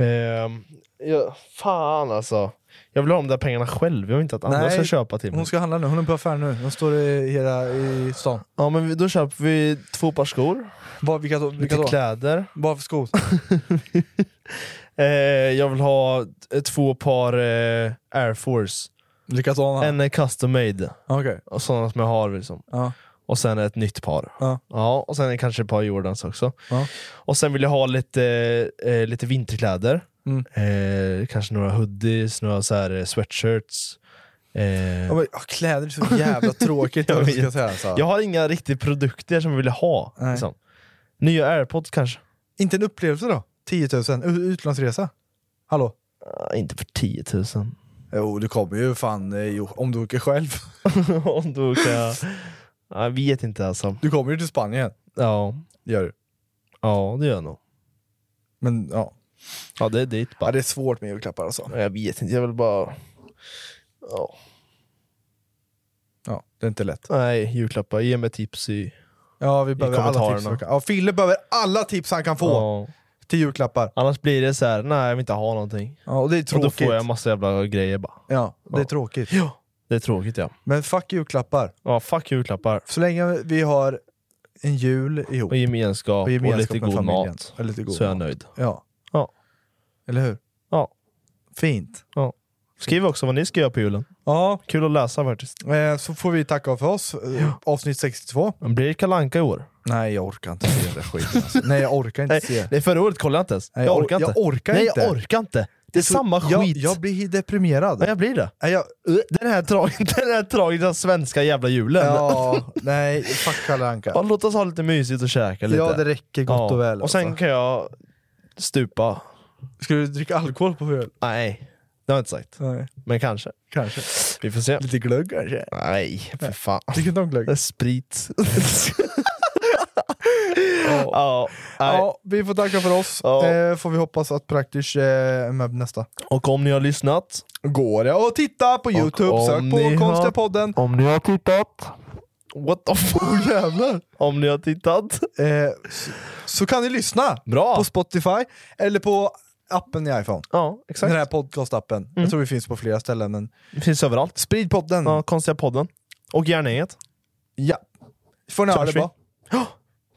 [SPEAKER 3] Ehm, ja, fan alltså. Jag vill ha de där pengarna själv, jag vill inte att andra
[SPEAKER 1] Nej,
[SPEAKER 3] ska köpa till mig.
[SPEAKER 1] Hon ska handla nu, hon är på affären nu. Hon står i, hela, i stan.
[SPEAKER 3] Ja men vi- då köper vi två par skor,
[SPEAKER 1] Vad, vilka då? Vilka
[SPEAKER 3] lite
[SPEAKER 1] då?
[SPEAKER 3] kläder.
[SPEAKER 1] Vad för skor?
[SPEAKER 3] Eh, jag vill ha t- två par eh, Air Force.
[SPEAKER 1] Likadana?
[SPEAKER 3] En är custom made,
[SPEAKER 1] Okej.
[SPEAKER 3] och sådana som jag har liksom.
[SPEAKER 1] Ja.
[SPEAKER 3] Och sen ett nytt par.
[SPEAKER 1] Ja.
[SPEAKER 3] Ja, och sen kanske ett par Jordans också.
[SPEAKER 1] Ja.
[SPEAKER 3] Och sen vill jag ha lite, eh, lite vinterkläder.
[SPEAKER 1] Mm.
[SPEAKER 3] Eh, kanske några hoodies, några så här eh, sweatshirts. Eh,
[SPEAKER 1] Ja, men, ja, kläder är så jävla tråkigt.
[SPEAKER 3] Jag
[SPEAKER 1] jag,
[SPEAKER 3] vet.
[SPEAKER 1] ska säga, alltså.
[SPEAKER 3] Jag har inga riktiga produkter som jag vill ha.
[SPEAKER 1] Nej.
[SPEAKER 3] Liksom. Nya airpods kanske?
[SPEAKER 1] Inte en upplevelse då? 10 000? U- utlandsresa? Hallå?
[SPEAKER 3] Ah, inte för 10 000.
[SPEAKER 1] Jo, du kommer ju fan eh, jo, om du åker själv.
[SPEAKER 3] Om du åker... Ja, Jag vet inte alltså.
[SPEAKER 1] Du kommer ju till Spanien.
[SPEAKER 3] Ja,
[SPEAKER 1] Gör du.
[SPEAKER 3] ja det gör jag nog.
[SPEAKER 1] Men ja.
[SPEAKER 3] Ja, det är dit bara.
[SPEAKER 1] det är svårt med julklappar alltså.
[SPEAKER 3] Jag vet inte, jag vill bara... Ja.
[SPEAKER 1] Ja, det är inte lätt.
[SPEAKER 3] Nej, julklappar. Ge mig tips i
[SPEAKER 1] Ja, vi
[SPEAKER 3] i
[SPEAKER 1] behöver alla tips.
[SPEAKER 3] kommentarerna.
[SPEAKER 1] vi kan- Ja, Fille behöver alla tips han kan få till julklappar.
[SPEAKER 3] Annars blir det så här, nej jag vill inte ha någonting.
[SPEAKER 1] Ja, och det är
[SPEAKER 3] Och då
[SPEAKER 1] tråkigt.
[SPEAKER 3] får jag massa jävla grejer bara.
[SPEAKER 1] Ja, det är
[SPEAKER 3] Ja.
[SPEAKER 1] tråkigt.
[SPEAKER 3] Det är tråkigt ja.
[SPEAKER 1] Men fuck julklappar.
[SPEAKER 3] Ja, fuck julklappar.
[SPEAKER 1] Så länge vi har en jul ihop.
[SPEAKER 3] Och gemenskap och,
[SPEAKER 1] gemenskap med
[SPEAKER 3] lite god
[SPEAKER 1] familjen.
[SPEAKER 3] mat.
[SPEAKER 1] Och lite god
[SPEAKER 3] så är jag
[SPEAKER 1] mat.
[SPEAKER 3] nöjd.
[SPEAKER 1] Ja.
[SPEAKER 3] Ja.
[SPEAKER 1] Eller hur?
[SPEAKER 3] Ja.
[SPEAKER 1] Fint.
[SPEAKER 3] Ja. Skriv också vad ni ska göra på julen.
[SPEAKER 1] Ja,
[SPEAKER 3] Kul att läsa faktiskt.
[SPEAKER 1] eh, så får vi tacka för oss. Eh, Avsnitt 62.
[SPEAKER 3] Men blir det kalanka i år?
[SPEAKER 1] Nej, jag orkar inte se den där skiten. Alltså. Nej, jag orkar inte se.
[SPEAKER 3] Nej, förra året kollade jag inte ens.
[SPEAKER 1] Nej,
[SPEAKER 3] jag
[SPEAKER 1] jag
[SPEAKER 3] orkar
[SPEAKER 1] or-
[SPEAKER 3] inte.
[SPEAKER 1] jag orkar
[SPEAKER 3] Nej,
[SPEAKER 1] inte.
[SPEAKER 3] jag orkar inte. Det är
[SPEAKER 1] Så-
[SPEAKER 3] samma skit.
[SPEAKER 1] Jag, jag blir deprimerad.
[SPEAKER 3] Ja, jag blir det.
[SPEAKER 1] Nej, jag,
[SPEAKER 3] Den här, tra- den här tragiska svenska jävla julen.
[SPEAKER 1] ja, nej, fuck Kalle Anka.
[SPEAKER 3] Ja, låt oss ha lite mysigt och käka lite.
[SPEAKER 1] Ja, det räcker gott och väl,
[SPEAKER 3] Och sen
[SPEAKER 1] alltså.
[SPEAKER 3] kan jag stupa.
[SPEAKER 1] Ska du dricka alkohol på öl?
[SPEAKER 3] Nej, det har jag inte sagt.
[SPEAKER 1] Nej,
[SPEAKER 3] Men kanske.
[SPEAKER 1] kanske.
[SPEAKER 3] Vi får se.
[SPEAKER 1] Lite glögg kanske?
[SPEAKER 3] Nej, för fan.
[SPEAKER 1] Tycker inte om glögg?
[SPEAKER 3] Det är sprit. ja. nej.
[SPEAKER 1] Ja, vi får tacka för oss.
[SPEAKER 3] Ja.
[SPEAKER 1] Eh, får vi hoppas att Praktisch eh, är med nästa.
[SPEAKER 3] Och om ni har lyssnat,
[SPEAKER 1] Går det att titta på Youtube?
[SPEAKER 3] om
[SPEAKER 1] Sök
[SPEAKER 3] ni
[SPEAKER 1] på
[SPEAKER 3] har-
[SPEAKER 1] Konstiga podden.
[SPEAKER 3] Om ni har tittat... What the fuck?
[SPEAKER 1] Oh, jävlar.
[SPEAKER 3] Om ni har tittat.
[SPEAKER 1] Eh, så, så kan ni lyssna
[SPEAKER 3] Bra!
[SPEAKER 1] på Spotify eller på appen i iPhone.
[SPEAKER 3] ja, exakt. Mm.
[SPEAKER 1] Den här podcastappen. Jag tror vi finns på flera ställen. Men...
[SPEAKER 3] Det finns överallt.
[SPEAKER 1] Sprid podden.
[SPEAKER 3] Ja, konstiga podden. Och järnänget.
[SPEAKER 1] Ja. Får ni
[SPEAKER 3] Så
[SPEAKER 1] ha det
[SPEAKER 3] hörs vi.
[SPEAKER 1] bra.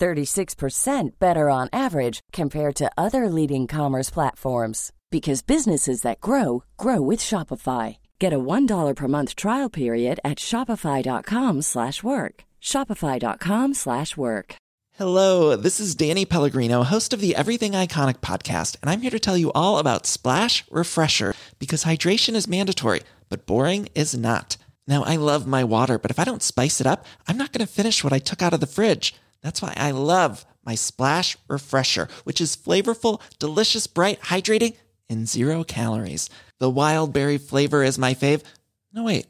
[SPEAKER 9] 36% better on average compared to other leading commerce platforms because businesses that grow grow with Shopify. Get a $1 per month trial period at shopify.com/work. slash work. shopify.com/work. slash work.
[SPEAKER 7] Hello, this is Danny Pellegrino, host of the Everything Iconic podcast, and I'm here to tell you all about Splash Refresher because hydration is mandatory, but boring is not. Now, I love my water, but if I don't spice it up, I'm not going to finish what I took out of the fridge. That's why I love my Splash Refresher, which is flavorful, delicious, bright, hydrating, and zero calories. The wild berry flavor is my fave. No, wait.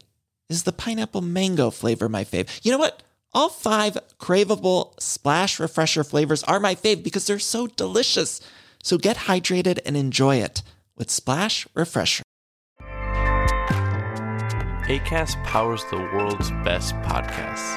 [SPEAKER 7] is the pineapple mango flavor my fave. You know what? All five craveable splash refresher flavors are my fave because they're so delicious. So get hydrated and enjoy it with Splash Refresher.
[SPEAKER 10] ACAST powers the world's best podcasts.